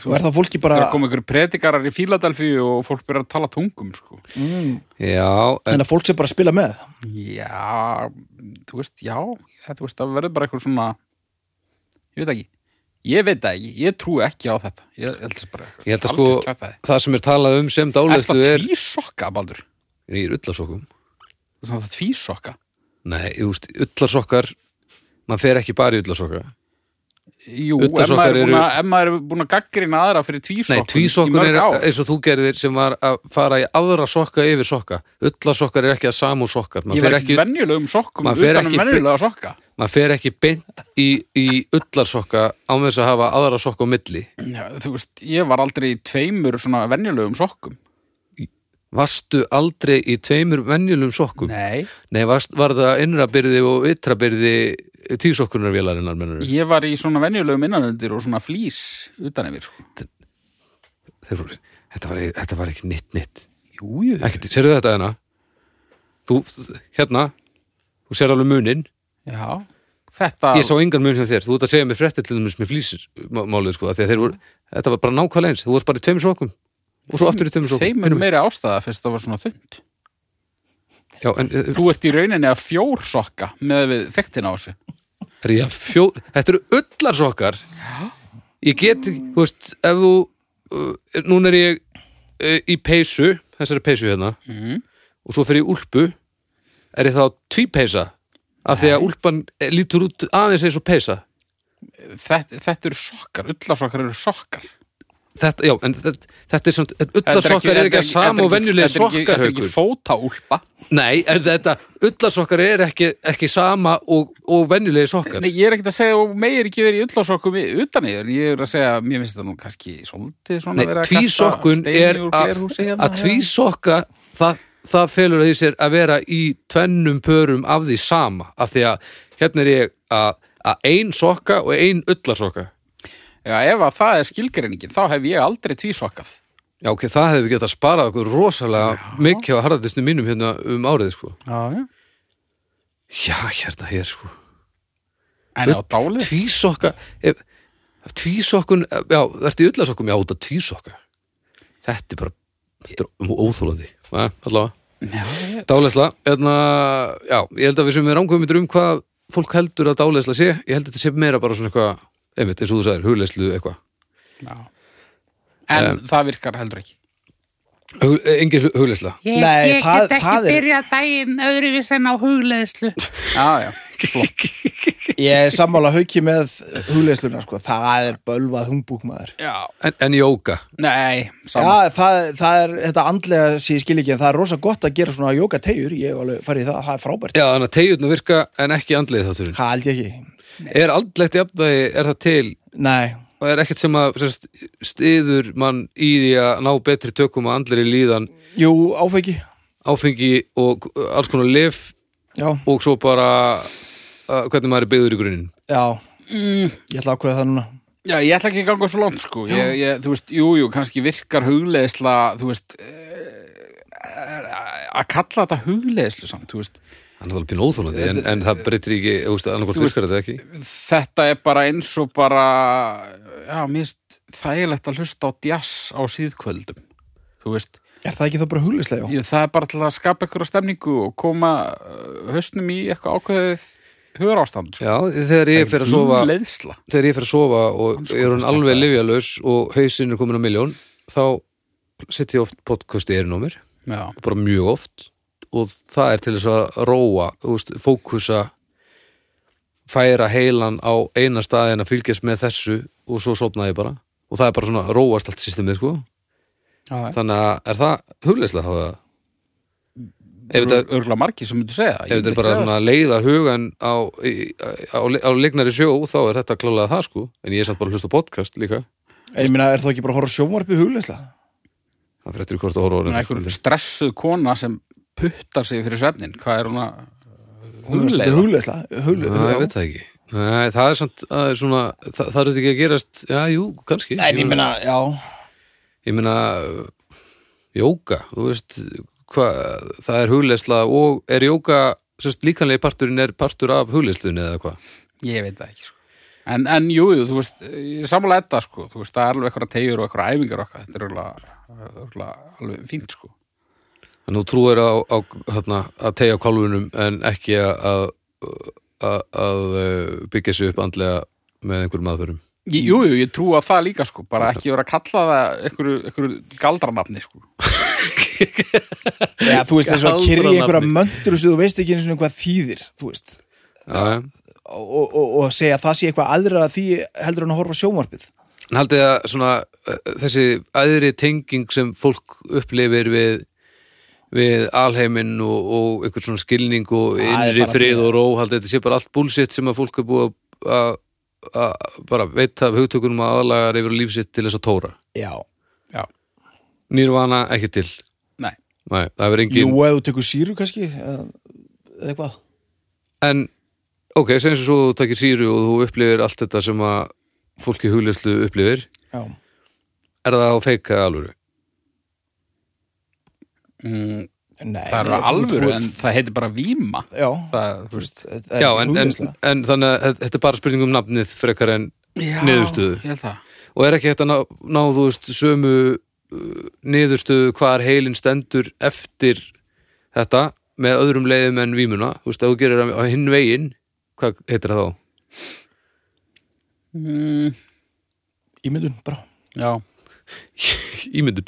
þú og er það fólki bara þegar koma ykkur predikarar í Fíladelfíu og fólk byrja að tala tungum sko mm, Já, en, en að fólk sé bara að spila með Já, þú veist, já það, þú veist, það verður bara eitthvað svona ég veit ekki Ég veit það ekki, ég trúi ekki á þetta Ég, ég held þess bara ég held að sko algjört kjaftæði. það sem er talað um sem Ertu dálæslu að er tvísokka, Baldur? Ég er ullarsokkum Þú veist, það tvísokka Nei, þú veist, ullarsokar maður fer ekki bara í ullarsokkar Jú, ef Ullasokkar maður, eru... eru- búna, ef maður er búin að gaggrina aðra fyrir tvísokkur Nei, tvísokkur í er mörg ár eins og þú gerðir sem var að fara í aðra sokka yfir sokka Ullarsokar er ekki að samú sokkar Ég maður var fer, ekki ekki, venjulegum sokkum maður fer utan um ekki- venjulega sokka maður fer ekki beint í, í ullarsokka án þess að hafa aðra sokka á milli Já, Þú veist, ég var aldrei í tveimur svona venjulegum sokkum Varstu aldrei í tveimur venjulegum sokkum? Nei Nei, varst, var það innrabyrði og ytrabyrði tísokkunarvélarinnar mennur? Ég var í svona venjulegum innanundir og svona flís utan yfir sko. Þeir, þetta, var, þetta var ekki nýtt, nýtt. Jú, jú Ekkert, sérðu þetta hérna? Þú, hérna, þú sér alveg munin. Já, þetta Ég sá engan mun hjá þér. Þú ert að segja mér fréttir til þess með flýsmálið, sko, af því að þeir voru, þetta var bara nákvæmlega eins. Þú varst bara í tveimur sokkum og svo aftur í tveimur sokkum. Þeim er meiri ástæða fyrst það var svona þund Já, en eh, Þú ert í rauninni að fjór sokka með við þekktin á þessu er ég að fjó... Þetta eru öllarsokkar. Ég get, þú veist, ef þú, uh, núna er ég uh, í peysu, þessari peysu hérna, og svo fer ég í úlpu, er ég þá tvípeysa, af því að úlpan eh, lítur út aðeins eins og peysa. Þetta, þetta eru sokkar, ullasokkar eru sokkar Þetta, já, en þetta, þetta er samt, Þetta öllarsokkar er ekki að sama og venjulega þetta er ekki- Þetta er sokkarhaukur. ekki fótaúlpa Nei, er þetta, öllarsokkar er ekki, ekki sama og, og venjulega sokkar. Nei, ég er ekkert að segja og meir ekki verið í ullasokkum í- utan yfir, ég er að segja mér finnst þetta nú kannski svolítið svona Nei, verið að kasta tvísokkun steini er úr að glerhúsi hérna. að tvísokka það, það felur að því sér að vera í tvennum pörum af því sama af því að hérna er ég að, að ein sokka og ein ullarsokka Já, ef að það er skilgreiningin, þá hef ég aldrei tvísokkað Já, ok, það hefði við getað sparað okkur rosalega mikið á harðardisnum mínum hérna um árið, sko Já, já Já, hérna hér, sko En á dálið Tvísokka ef, Tvísokkun, já, ertu í ullarsokkum? Já, út af tvísokka Þetta er bara, þetta er óþólandi Nei, allavega Já, já. Dáleysla, hérna, já, ég held að við sem við ránkvömyndur um hvað fólk heldur að dáleysla sé, ég held að þetta sé meira bara svona eitthvað, einmitt, eins og þú sagðir, hugleyslu eitthvað. já En það virkar heldur ekki Hug, eh, engin hugleysla Ég, Nei, ég það- get ekki það er- byrjað daginn öðruvís en á hugleðslu. já, já, flott Ég er sammála hauki með hugleisluna sko. það er bölvað humbúk maður já, en, en jóka nei, saman Já, það, það er þetta andlega sem ég skil ekki en það er rosa gott að gera svona jóka tegjur ég hef alveg farið í það, það er frábært Já, þannig að tegjurna virka en ekki andlið þátturinn. Það held ég ekki Er andlegt jafnvægi, er það til Nei, og er ekkert sem að sérst, stiður mann í því að ná betri tökum að andlir líðan jú, áfengi áfengi og alls konar lif Já, og svo bara uh, hvernig maður er byggður í grunin. já Ég ætla að ákveða það núna Já, ég ætla ekki að ganga svo langt sko ég, ég, Þú veist, jú, jú, kannski virkar hugleðisla þú veist eh, að kalla þetta hugleðislu samt, þú veist Það er náttúrulega pínu óþólandi en, en það breytir ekki, þú veist, annarkvort virkar þetta ekki. þetta er bara eins og bara já, mér finnst þægilegt að hlusta á djass á síðkvöldum þú veist, Er það ekki þá bara hugleislega? ég, það er bara til að skapa ykkur á stemningu og koma uh, hausnum í eitthvað ákveðið hugarástand sko. Um Já, þegar ég fer að sofa Hugleiðsla. þegar ég fer að sofa og er hún alveg livjalaus og hausinn er komin á miljón þá setjum ég oft podcasti erinn á mér já, bara mjög oft og það er til þess að róa þú veist, fókusa færa heilan á eina staðin að fylgjast með þessu og svo sopna ég bara og það er bara svona róast allt systemið sko já, þannig að er það hugleyslega þá það ef þetta það örgulega margi sem myndu segja Ef það. Ég þetta er myndi bara segja svona að leiða hugan á, í- á, á leiknari sjó þá er þetta klálega það sko en ég er satt bara að hlusta á podcast líka Ég meina, er það ekki bara að horfa sjónvarpið hugleislega? Það fyrir eftir hvort að horfa á svona reyndar. einhver stressuð kona sem puttar sig fyrir svefnin hvað er hún að hugleiða? Hugleislega Já, ég Hugleislega veit það ekki Nei, það er samt, það er svona, það, það er þetta ekki að gerast Já, jú, kannski En ég meina, já Ég meina, uh, jóka, þú veist hvað, það er hugleysla og er jóka, sérst líkanlega parturinn er partur af hugleslunni eða hvað Ég veit það ekki, sko. En, en jú, jú, þú veist, ég er sammála þetta, sko, þú veist, það er alveg eitthvað tegjur og eitthvað æfingar okkar, þetta er alveg, alveg, alveg fínt, sko. En þú trúir á, á þarna, að tegja á kálfunum en ekki að, að, að uh, byggja sig upp andlega með einhverjum aðförum Ég, jú, jú, ég trú á það líka, sko, bara ekki vera að kalla það einhverju, einhverju galdranafni, sko. Já, þú veist, þess að kyrja Galdranafni. einhverja möndur sem þú veist ekki einu sinni hvað þýðir, þú veist Já, já og, og, og segja að það sé eitthvað aðra að því heldur hann að horfa á sjónvarpið En haldið þið að svona uh, þessi aðri tenging sem fólk upplifir við við alheiminn og, og einhvern svona skilning og Það er innri bara frið fyrir- og ró haldið þetta sé bara allt búlsitt sem að fólk er búið að- að að bara veita af hugtökunum að aðlagar yfir líf sitt til þess að tóra Já, Já, Nýrvana ekki til nei. Nei, það verður jú, engin eða þú tekur síru kannski eða eða eitthvað En ok, segjum sem svo þú takir síru og þú upplifir allt þetta sem að fólki huglislu upplifir Já, er það á feika alvöru? Mm, Nei, það er ég- alvöru, þú- en það heitir bara víma. Já, Það, þú veist, það er Já, en, en, hugleiðsla. en þannig að þetta er bara spurning um nafnið frekar en já, Niðurstöðu. Ég held það. og er ekki hægt að ná, ná þú veist sömu uh, niðurstöðu hvar heilin stendur eftir þetta með öðrum leiðum en vímuna þú veist, ef þú gerir það á hinn veginn hvað heitir það þá? Mm, Ímyndun, bara já, Ímyndun.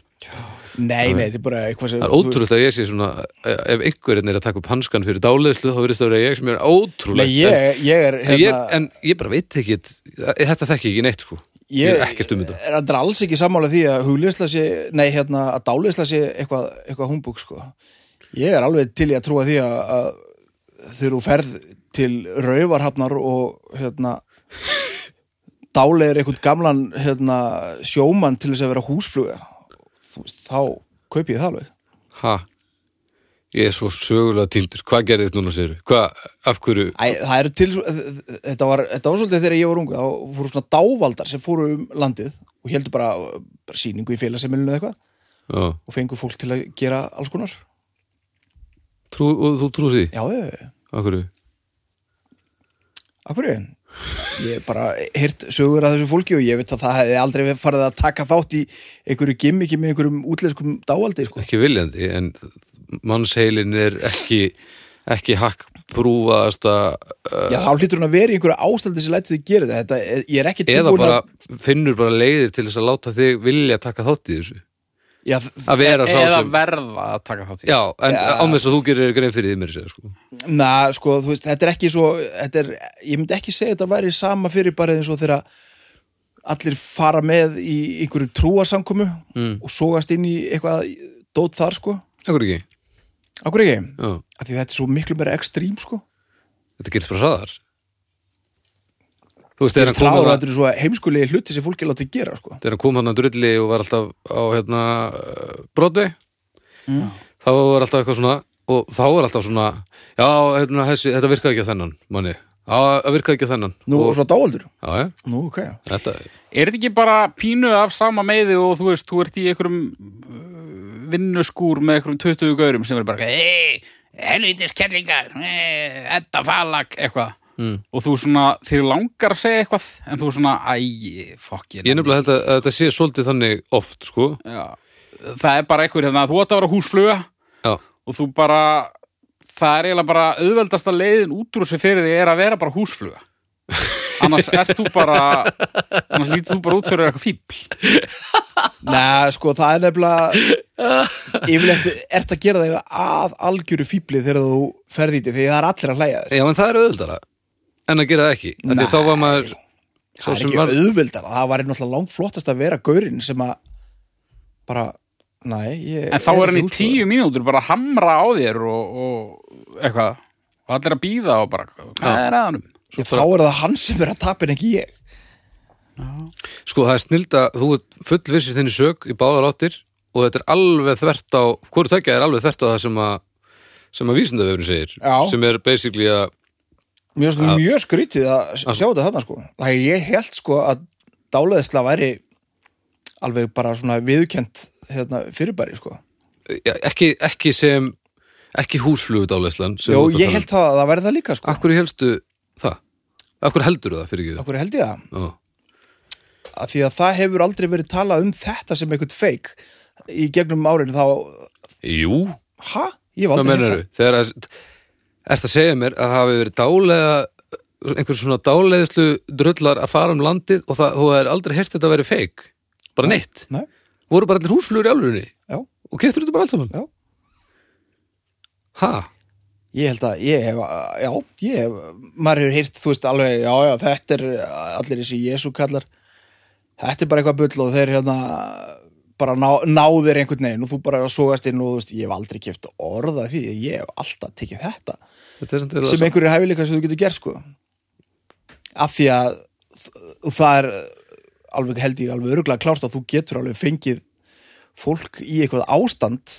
Nei, nei, þetta er bara eitthvað sem Það er þú veist- ótrúlegt að ég sé svona e, ef einhverjinn er að taka upp hanskan fyrir dáleðslu þá verðist það að vera ég sem er Nei, ótrúlegt ég, ég er en, hérna, en, ég, en ég bara veit ekki þetta þekki ég ekki neitt sko ég er ekkert um þetta. er aldrei alls ekki sammála því að hugleysla sé, nei hérna að dáleysla sé eitthvað, eitthvað húmbúk sko ég er alveg til í að trúa því að, að þegar þú ferð til rauvarhafnar og hérna dálegir einhvern gamlan hérna, sjómann til þess að vera húsfluga Þú veist, þá kaupi ég það alveg ha ég er svo sögulega týndur hvað gerðist núna séru? Hvað, af hverju Æ, það eru til, þetta var, þetta var svolítið þegar ég var unga, þá fóru svona dávaldar sem fóru um landið og heldur bara, bara sýningu í félagsemilinu eða eitthvað já, og fengu fólk til að gera alls konar trú, og þú trúir því? Já, já, já. af hverju? Af hverju? Ég hef bara heyrt sögur að þessu fólki og ég veit að það hefði aldrei farið að taka þátt í einhverju gimmiki með einhverjum útlenskum dáaldi, sko. ekki viljandi en mannsheilin er ekki ekki hakk prúfaðasta Uh. Já, þá hlýtur hún að vera í einhverju ástældi sem lætur þau gera þetta. þetta. er- Ég er ekki eða tilbúin bara að... finnur bara leiðir til þess að láta þig vilja taka þátt í þessu já, þ- að vera sá eða sem verða að taka þátt í já, en án þess að þú gerir þér grein fyrir því mér sér sko. Na, sko, þú veist, þetta er ekki svo þetta er, ég myndi ekki segja þetta væri sama fyrirbærið eins og þegar allir fara með í einhverju trúarsamkomu Mm. og sogast inn í eitthvað dót þar, sko Akkur ekki, Akkur ekki? já, Af því þetta er svo miklu meira ekstrím, sko þetta gerist bara hraðar Þú veist, Þeir þegar hann kom stráður þarna- þetta er svo heimskulegi hluti sem fólki er látið gera, sko þegar hann kom hann að drulli og var alltaf á hérna, eh, Broadway Mm. þá var alltaf eitthvað svona og þá var alltaf svona já, hérna, hessi, þetta virkaði ekki á þennan manni, já, það virkaði ekki á þennan Nú, og og, svo dáaldur já, já, Nú, ok þetta, Er þetta ekki bara pínu af sama meiði og þú veist, þú ert í einhverjum uh, vinnuskúr með einhverjum 20 gaurum sem er bara Hei, helvitis kellingar, eh, edda falag, eitthvað mm. og þú svona, þér langar að segja eitthvað en þú svona, æ, fokk ég nefnilega held að að þetta sé svolítið þannig oft, sko Já, það er bara einhver hérna, þú átt að vera húsfluga já, og þú bara, það er eiginlega bara auðveldasta leiðin útrúsi fyrir því er að vera bara húsfluga annars ert þú bara annars lítur þú bara út fyrir eitthvað fíbl Nei, sko, það er nefnilega yfirleitt ert að gera þeir að algjöru fíbli þegar þú ferði í því því það er allir að hlæja þér já, en það er auðvöldara en að gera það ekki, af því þá var maður sá það er sem ekki var- auðvildar það var náttúrulega langt flottast að vera gaurinn sem að bara, næ ég, En þá er hann í ekki tíu mínútur bara að hamra á þér og, og eitthvað og allir að býða og bara hvað er að hannum? húsfreyja. Ég, þá er það hann sem er að tapa en ekki ég sko, það er snild að þú ert fullvissir þinni sög í báðar áttir og þetta er alveg þvert á hvort tekja er alveg þvert á það sem að sem að vísindavefurinn segir Já. sem er basically að mjög, ja. mjög skrítið að s- sjá þetta þarna sko það er ég held sko að dálæðisla væri alveg bara svona viðkjönt hérna, fyrirbæri sko já, ekki, ekki sem ekki húsflugudáleislan Jó, ég held það að það væri það líka sko um. Af hverju helstu það? Af hverju heldur það fyrir ekki af hverju held ég það? það? að því að það hefur aldrei verið talað um þetta sem eitthvað feik í gegnum árinu þá, Jú, ha? Ég hef hvað aldrei heyrt mennur það. þú? Þegar að, ert að segja mér að það hafi verið dálega einhver svona dáleiðslu drullar að fara um landið og það, þú er aldrei hert þetta að vera feik bara neitt, Nei, voru bara allir húsflugur í álunni já, og keftur þetta bara allt saman Já. Ha? ég held að ég hef, já, ég hef maður hefur heyrt, þú veist, alveg, já, já þetta er allir þessi Jésu kallar þetta er bara eitthvað bull og þeir hérna bara ná, náðir einhvern veginn og þú bara sogast inn og þú veist, ég hef aldrei keft orða því, ég hef alltaf tekið þetta Þetta er samt eiginlega sem einhverju hæfileika sem þú getur gert sko af því að þ- það er alveg held ég alveg öruglega klárt að þú getur alveg fengið fólk í eitthvað ástand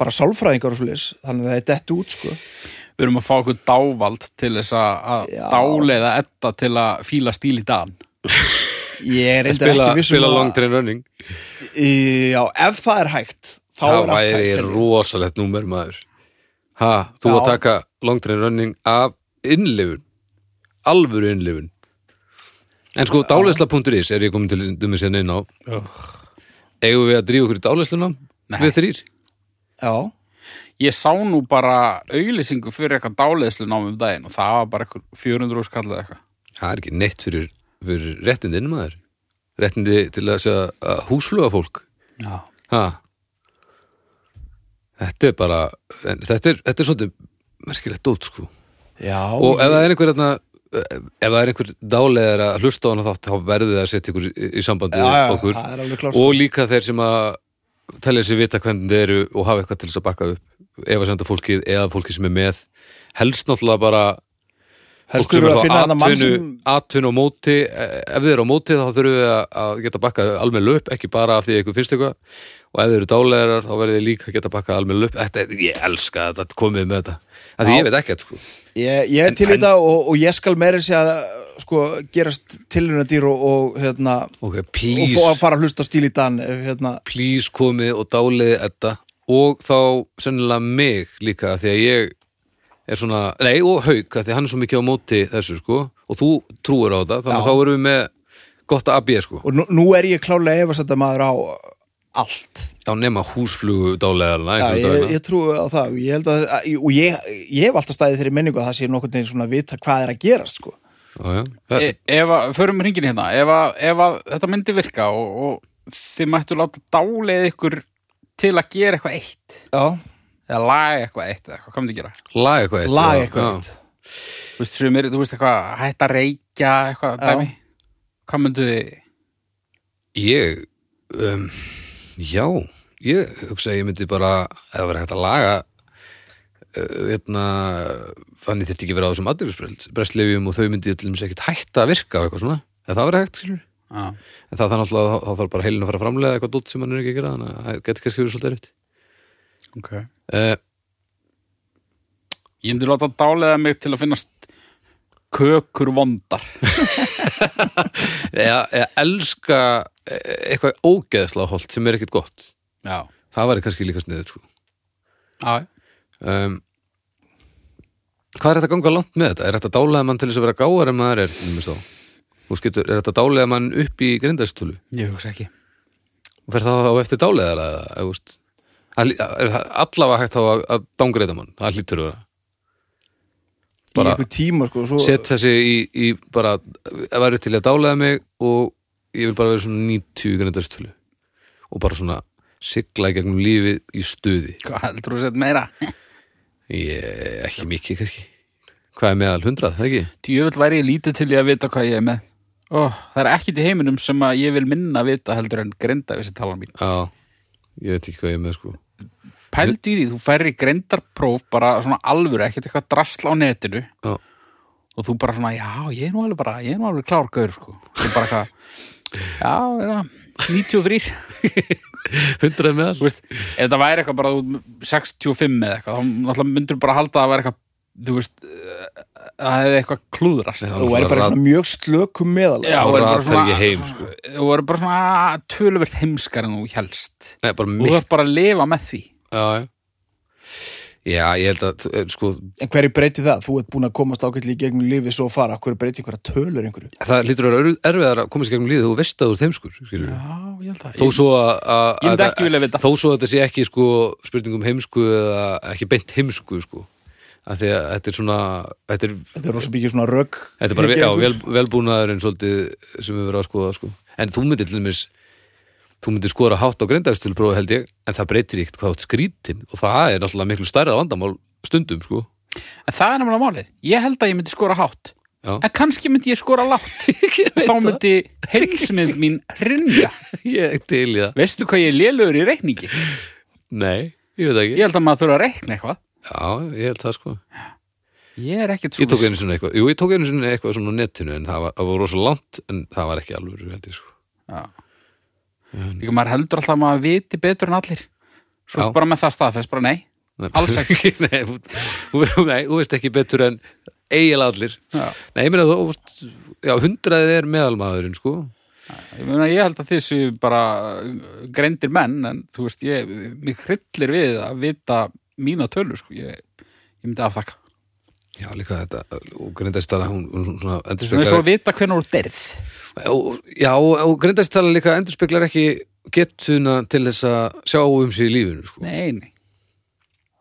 bara sálfræðingar og svoleiðis þannig að það er dettu út sko Við erum að fá okkur dávald til þess að- að Já. dáleiða etta til að fíla stíl í dan ég er reyndar spila, ekki um vissum spila long train running já, ef það er hægt þá það er allt væri hægt held ég. rosalegt númer maður ha, þú Já. að taka long train running af innlifun alvöru innlifun en sko dálæsla.is er ég komin til dæmi sérna inn á eigum við að drífa okkur í dálæsluna við þrýr já, Ég sá nú bara auglýsingu fyrir eitthvað dáleiðslu námum daginn og það var bara eitthvað 400 skallið eitthvað það er ekki neitt fyrir, fyrir réttindin maður réttindi til þess að, að húsfluga fólk Já. ha. þetta er bara en þetta er, þetta er svolítið merkilegt dót sko já og ef það er einhver hérna, ef það er einhver dálegar að hlusta á hana þátt þá verðið að setja ykkur í- í sambandi já, já, við okkur það er alveg klárt sko. og líka þeir sem að telja sér vita hvernig þeir eru og hafa eitthvað til þess að bakka upp ef að senda fólkið eða fólkið sem er með helst náttúrulega bara fólk heldur sem þú er að þá finna hann mann atvinnu, sem atvinnu og móti eh, ef þeir eru á móti þá þurfum við að- að geta bakkað almenn löp, ekki bara af því að ykkur finnst eitthvað og ef þeir eru dálegarar þá verðið þið líka að geta bakkað almenn löp þetta er, ég elska þetta, komið með þetta af því Já. ég veit ekkert sko Ég, ég er til í þetta og, og ég skal meira sér að sko, gerast tilhunadýr og, og, hérna, ok, og please fó að fara að hlusta á stíl í dan ef, hérna, please komið og dáliði þetta og þá sennilega mig líka af því að ég er svona, nei og hauk af því að hann er svo mikið á móti þessu sko og þú trúir á þetta, þannig að þá erum við með gott að abja sko, og nú, nú er ég klálega efasenda maður á allt þá nema húsflugu dáliðarna, Já, einhverjum ég, dagina ég trúi á það og ég, held að, að- og ég, ég hef alltaf staðið þeirri menningu að það sé nokkurn veginn svona að vita hvað er að gerast sko. Já, já. Það- e, ef að, förum hringin hérna ef að, ef að þetta myndi virka og, og þið mættu láta dáleið ykkur til að gera eitthvað eitt já, eða laga eitthvað eitt eða hvað komið að gera Lag eitthvað eitt já, lag já. eitthvað eitt. þú veist, sumir, þú veist eitthvað hætt að reykja eitthvað Já. dæmi hvað myndu þið Ég, um, já, ég hugsa að ég myndi bara, eða verið hægt að laga, uh, hérna, þannig þyrfti ekki að vera á þessum aðdeglisbrestlefjum og þau myndi allir mér ekkert hætta að virka og eitthvað svona, eða það verið hægt, skilur. já, En það þannig alltaf, þá, þá þarf bara heilin að fara að framlega eitthvað dótt sem hann er ekki að gera, þannig að það getur kannski verið svolítið erfitt. ok Uh, ég myndi láta dáleiða mig til að finnast kökur vondar eða, eða elska eh, eitthvað ógeðslega holt sem er ekkert gott. já, Það væri kannski líka sniðið, sko. já, um, hvað er þetta að ganga langt með þetta? Er þetta dálega mann til þess að vera gáðar en maður er, um þess þá Þú skilur, er þetta dálega mann upp í grindastölu ég hugsa ekki og fer það á eftir dálega eða, eða, veist Það lí- er það allavega hægt þá að, að dángreita mann það hlýtur að vera. í Bara- einhver tíma sko, svo, set þessi í, í bara að væri til að dálega mig og ég vil bara vera svona 90 grindastölu og bara svona sigla í gegnum lífið í stuði hvað heldur þú sett meira? ég, ekki mikið kannski hvað er meðal 100, það ekki? Djöfull væri ég lítið til ég að vita hvað ég er með Ó, það er ekkit í heiminum sem að ég vil minna vita heldur en grinda við sér talan mín Já, ég veit ekki hvað ég er með sko Pældu í því, þú færri grindarpróf bara svona alvöru, ekkert eitthvað drasla á netinu Já, og þú bara svona, já, ég er nú alveg bara ég er nú alveg klárgaur, sko þú bara hvað, já, já 93, 100 meðal þú veist ef þetta væri eitthvað bara þú- 65 eða eitthvað, þá náttúrulega myndur bara halda að það væri eitthvað, þú veist eh, að það hefði eitthvað klúðrast Já, þú væri bara í svona mjög slökum meðal Já, þú væri bara ratar svona- ekki heim, sko. þú væri bara svona töluvert heimskar en þú helst Nei, bara og þú mikið þarf bara að lifa með því já, já. já, ég held að eh, sko, en hverju breyti það? Þú ert búin að komast ákveðli í gegnum lífi svo fara, hverju breyti einhverja tölur einhverju? það lítur að vera erfiðar að koma sér gegnum lífið þú veist að þú ert heimskur skilur. Já, ég held það þó svo að- að Ég myndi að- ekki vilja vita. þó svo að þetta sé ekki sko, spurningum heimsku eða ekki beint heimsku sko. að því að þetta er svona þetta er, Þetta er rosa mikið svona rögg þetta er bara já, Hyggja- vel, velbúnaðurinn svolítið sem við verðum að skoða sko. en þú myndir til dæmis þú myndir skora hátt á greindagstilprófi held ég en það breytir ekkert hvað átt skrítin og það er náttúrulega miklu stærra vandamál stundum sko En það er nefnilega málið, ég held að ég myndi skora hátt Já. En kannski myndi ég skora látt Þá myndi heilsmynd mín rinja Ég er til í það Veistu hvað ég er lélugur í reikningi? Nei, ég veit það ekki Ég held að maður þurfa að reikna eitthvað Já, ég held það sko Ég er ekkert svo Ég tók viss. einu sinni eitthvað Jú, ég tók einu sinni eitthvað svona á netinu en það var, það var rosa langt en það var ekki alveg held ég sko Já. Líka maður heldur alltaf að maður viti betur en allir Svo Já. bara með það staðfest, bara nei Nei, Alls ekki Nei, þú- þú- nei, þú veist ekki betur en eiginlega allir Já. Nei, ég meina þú þú- Já, hundraðið er meðalmaðurinn sko Ég, meina, ég held að þið séu bara uh, greindir menn en þú veist, ég, mig hryllir við að vita mína tölur sko. ég, ég myndi afþakka Já, líka þetta og grindastala hún, hún svona Svona eins og endurspeglar að vita hvernig þú derð og, Já, og grindastala líka endurspeglar ekki getuna til þess að sjá um sig í lífinu sko Nei, nei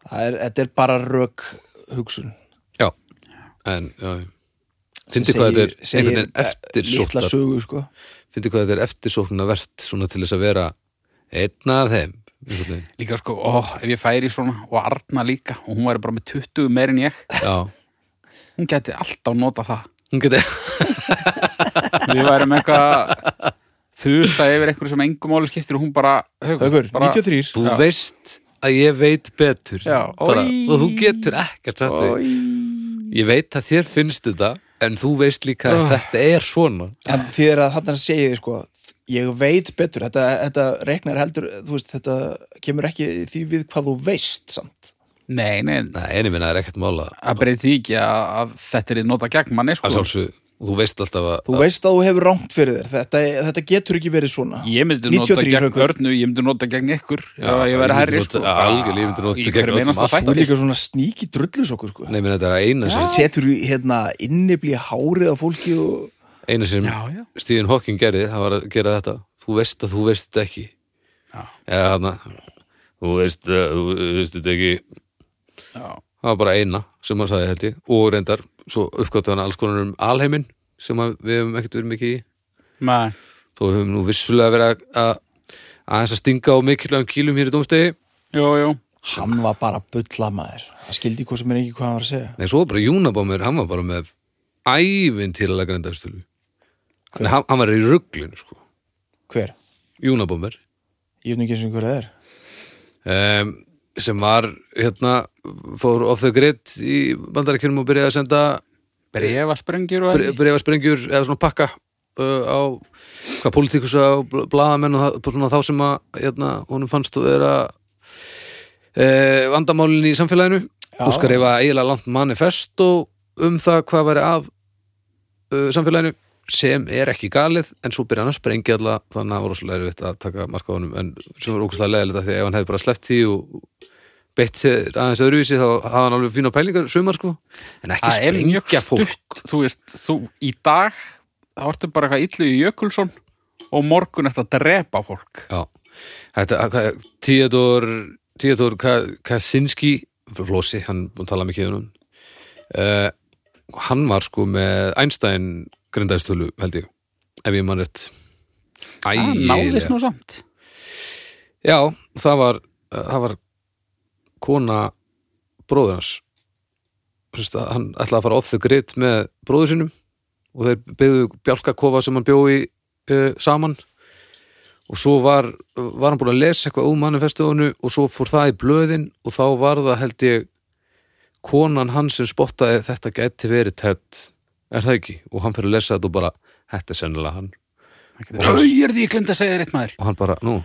Það er- Þetta er bara rögg hugsun Já, en já, fyndi hvað þetta er einhvern veginn Lítla eftirsóknar eh, e- sögu sko fyndi hvað þetta er eftirsóknarvert svona til þess að vera einn af þeim einhvern veginn. Líka sko, ó, ef ég færi í svona og Arna líka og hún væri bara með 20 meir en ég Já, hún gæti alltaf nota það hún geti Við værum eitthvað að þusa yfir einhverju sem engum máli skiptir og hún bara, haukur, Haukur, bara 93 Þú veist að ég veit betur Já, bara, oj. og þú getur ekkert sagt við. Ég veit að þér finnst þetta en þú veist líka að þetta er svona En því er að þarna segið þið sko Ég veit betur, þetta, þetta reiknar heldur Þú veist, þetta kemur ekki því við hvað þú veist samt Nei, nei, Nei, en ég minna það er ekkert mála það breyti því ekki að, að þetta er nota gegn manni sko. að sjálfsög, þú veist alltaf að Þú veist að þú hefur rangt fyrir þér Þetta, þetta getur ekki verið svona Ég myndi nota 93 gegn Haukur. Örnu, ég myndi nota gegn ykkur já, Já, ég ég myndi væri herri nota- sko já, algjörlega, ég myndi nota Í gegn hverjum öllum sko. einasta alltaf. Þú er þætti. líka svona sníki drullus okkur sko Nei, minna þetta er eina sem, Setur í, hérna innibli hárið á fólki og eina sem Já, já, Stephen Hawking gerði, það var að gera þetta þú veist að þú veist þetta ekki Já. eða þarna þú veist, að þú veist þetta ekki já, það var bara eina sem hann sagði held ég og reyndar, svo uppgáttu hann alls konar um alheiminn sem að við hefum ekkert verið mikið í maður þó við höfum nú vissulega verið að- að aðeins að stinga á mikilvægum kýlum hér í dómstegi Jú, jú. Hann var bara bullamaður. Það skildi hvað sem er ekki hvað hann var að segja. Nei, svo var bara Júnabámur, hann var bara með ævintýralega grendafstölu Nei, hann, hann var í rugglinu sko Hver? Júnabámur Ég veit nú ekki eins og hver það er. um, sem var hérna, fór off the grid í bandarækjunum og byrjaði að senda Brefaspröngjur og bre- brefasprengjur eða svona pakka uh, á hvað pólitíkusa og bl- blaðamenn og það, bara svona þá sem að hérna, honum fannst að vera uh, vandamálin í samfélaginu Já. og skrifa eiginlega langt manifest um það hvað væri að uh, samfélaginu sem er ekki galið en svo byrja hann að sprengja alla þannig að það var rosalega erfitt að taka marka á honum en sem var ógustlega leðilegt að því að ef hann hefði bara sleppt því og beitt sér aðeins öðruvísi þá hafði hann alveg fína pælingar sumar sko en ekki Það er mjög sprengja fólk stutt, þú veist, þú í dag, þá ertu bara eitthvað illu í Jökulsson og morgun eftir að drepa fólk. Já, þetta, hvað- Theodor, Theodor Ka- Kaczynski, Flósi, hann búin að tala mikið um hann, uh, hann var sko með Einstein grindaðistölu, held ég, ef ég mann rétt. Æ, Það náðist eiginlega. nú samt. Já, það var, það var kona bróður hans. Sist, hann ætlaði að fara off the grid með bróður sínum og þeir byggðu bjálkakofa sem hann bjó í uh, saman og svo var, var hann búin að lesa eitthvað um manifestónu og svo fór það í blöðin og þá var það held ég konan hans sem spottaði þetta gæti verið tett er það ekki og hann fyrir að lesa þetta og bara þetta er sennilega hann Rauður því, ég glemt að segja þér eitt maður. og hann bara, nú,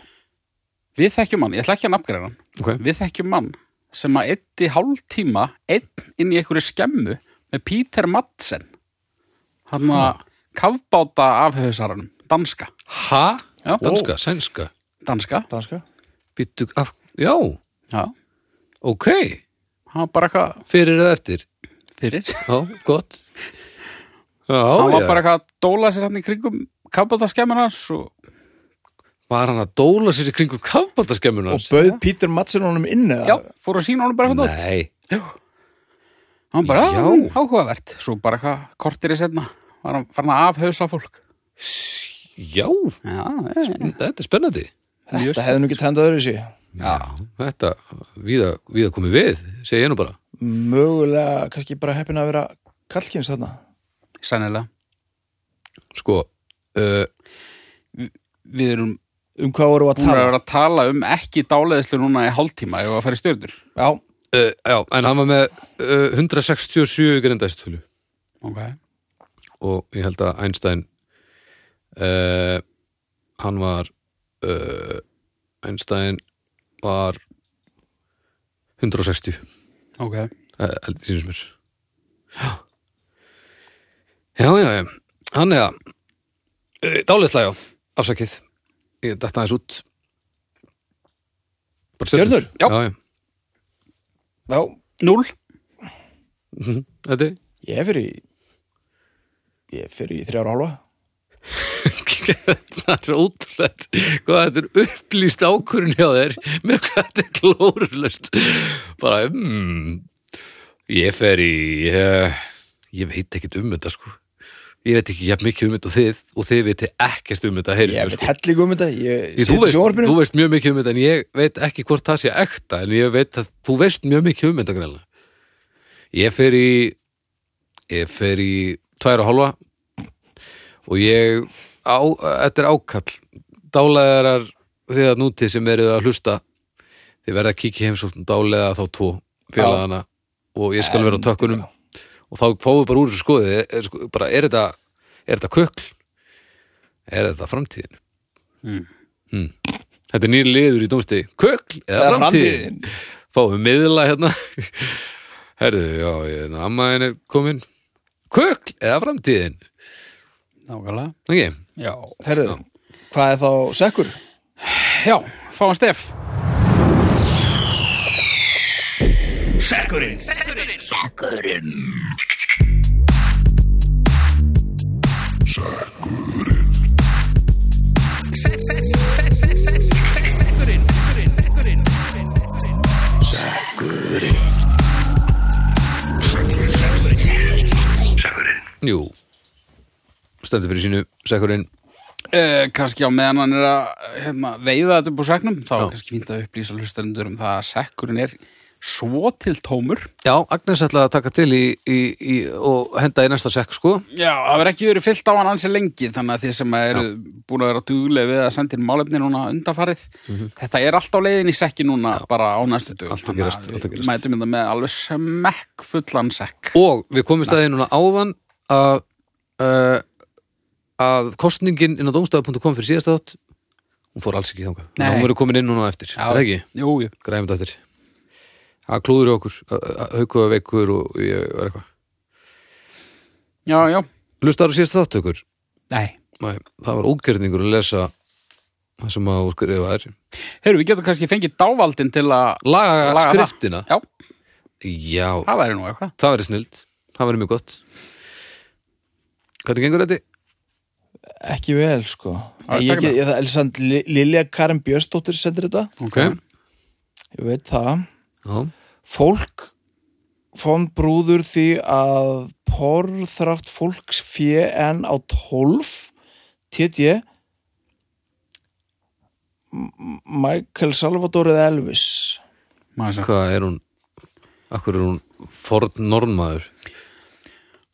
Við þekkjum mann, ég ætla ekki að nafngreina hann. ok Við þekkjum mann sem að eitti hálftíma, einn inn í einhverju skemmu með Peter Madsen. Hann að kafbáta afhauðsaranum, danska. ha? Já. Danska, sænska Danska, Danska? Býttu, af, já, já. ok Hann var bara eitthvað fyrir eða eftir, fyrir. já, gott já, hann var já. bara eitthvað að dóla sér hann í kringum kafbátaskemmin hans og var hann að dóla sér í kringum kafbaldaskemmuna Og bauð Pítur Madsen honum inn eða? já, fór að sína honum bara eitthvað dót. Nei, Jú. hann bara, Já. já, áhugavert svo bara eitthvað kortir í setna var hann farin að afhausa fólk já, já, eh, þetta er spennandi mjög Þetta hefði nú ekki tendað öðru sér. Já, þetta, viða, viða komið við, segi ég nú bara. Mögulega kannski bara heppin að vera kallkins þarna. sænilega Sko, uh, við erum Um hvað voru að búin að tala? vera að tala um ekki dálæðislu núna í hálftíma ef að fara í stjörnur Já, uh, já, en hann var með uh, 167 grindæstölu okay. og ég held að Einstein, uh, hann var, uh, Einstein var 160, Okay. uh, held ég sínum mér. Já, já, já, já. hann er að, uh, dálislega, já, afsakið, ég datt aðeins út. Bara stjörnur? Já. já, já. Já, Núll, Mhm. Þetta er ég er fyrir í... Ég er fyrir í þrjára hálfa. það er svo ótrúlegt hvað þetta er upplýst ákvörun hjá þér með hvað þetta er glórulöst bara mm, ég fer í uh, ég veit ekkert um þetta sko ég veit ekki jafn mikið um þetta og þið og þið veit ekkert um þetta heyrið Ég veit hellig um þetta. Ég Því, þú, sit í veist, þú sjónvarpinu. veist mjög mikið um þetta en ég veit ekki hvort það sé ekta en ég veit að þú veist mjög mikið um þetta greinlega. Ég fer í ég fer í tvær og hálfa og ég á, þetta er ákall dálæðarar þegar nútið sem eru að hlusta þið verða að kíkja í heimsókn dálæða þá tvo félagana og ég skal vera á tökkunum og þá fáum við bara úr þessu skoði er, er, sko- bara, er þetta, er þetta kökl er þetta framtíðin Hmm. Þetta er nýri liður í dómstegi Kökl eða Eða framtíðin framtíðin. Fáum við miðla hérna Herðu, já, ég, ammaðin er komin Kökl eða framtíðin nákvæmlega okay. Já, Herðu, hvað er þá sekkur? já fáum stef Jú Stendur fyrir sínu, sekkurinn Uh, kannski á meðan hann er að hérna, veiða þetta upp úr seknum þá Já. er kannski fínt að upplýsa hlustendur um það að sekkurinn er svo til tómur Já, Agnes ætlaði að taka til í, í, í, og henda í næsta sekk sko Já, það verður ekki verið fyllt á hann ansi lengi þannig að þið sem eru búin að vera duglega við að senda inn málefni núna undanfarið þetta er allt á leiðin í sekki núna bara á næstu dög Mhm. Allt að gerast, allt að gerast. Mætum þetta með alveg smekk fullan sekk og við komum staðið núna áðan að uh, að kostningin inn á domstafu.com fyrir síðasta þátt hún fór alls ekki þangað Nei. hún verður komin inn núna á eftir, er það ekki? Jú, jú græmið eftir að klúður hjá okkur, haukuða veikur og ég var eitthvað Já, já Lustar á síðasta þátt okkur? Nei Nei, það var ógerningur að lesa það sem að skrifa þér Heyrðu, við getum kannski fengið dávaldin til að Laga, Laga það. skriftina Já, Já, það væri nú eitthvað það verið snild það verið mjög gott Hvernig gengur þetta? ekki vel sko Já, ég, takk ég, ég, Elsand, Lilja Karin Björnsdóttir sendir þetta, Ok, ég veit það Já. fólk fann brúður því að porðrætt fólks fjö en á 12 tét ég Michael Salvador eða Elvis Maður sem- hvað er hún Akkur er hún forn normæður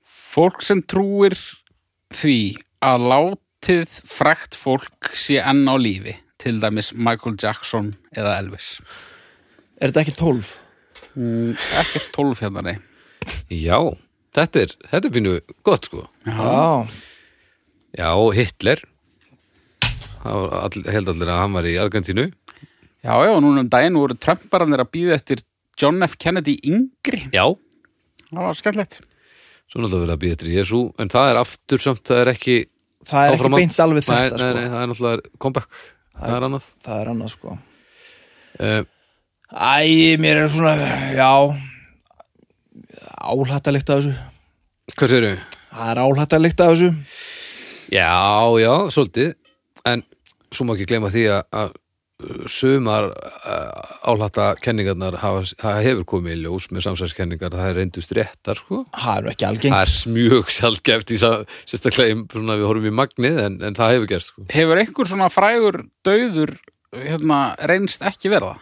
Fólk sem trúir því að látið frekt fólk sé enn á lífi til dæmis Michael Jackson eða Elvis er þetta ekki 12? Mm. ekkert 12 hérna nei Já, þetta er, þetta er pínu gott sko Já, Já, Hitler Það var all, held allir að hann var í Argentínu Já, já, núna um daginn voru Trumparannir að býða eftir John F. Kennedy yngri Já, Það var skemmtlegt svo náttúrulega verið að býja eftir Jesú En það er aftur samt, það er ekki það er áfram ekki beint allt. alveg þetta nei, sko. nei, nei, það er náttúrulega comeback það er annað það er annað sko uh, Æ, mér er svona, já álhattalegt af þessu hvað segir við? það er álhattalegt af þessu já, já, svolítið en svo má ekki gleyma því að, að sumar uh, álhata kenningarnar hafa, það hefur komið í ljós með samsæðskenningar það er reyndust réttar sko það er nú ekki algengt það er mjög sjálfgeft í sa- sérstaklega í- svona, við horfum í magnið en, en það hefur gerst sko Hefur einhver svona frægur dauður hérna, reynst ekki verða?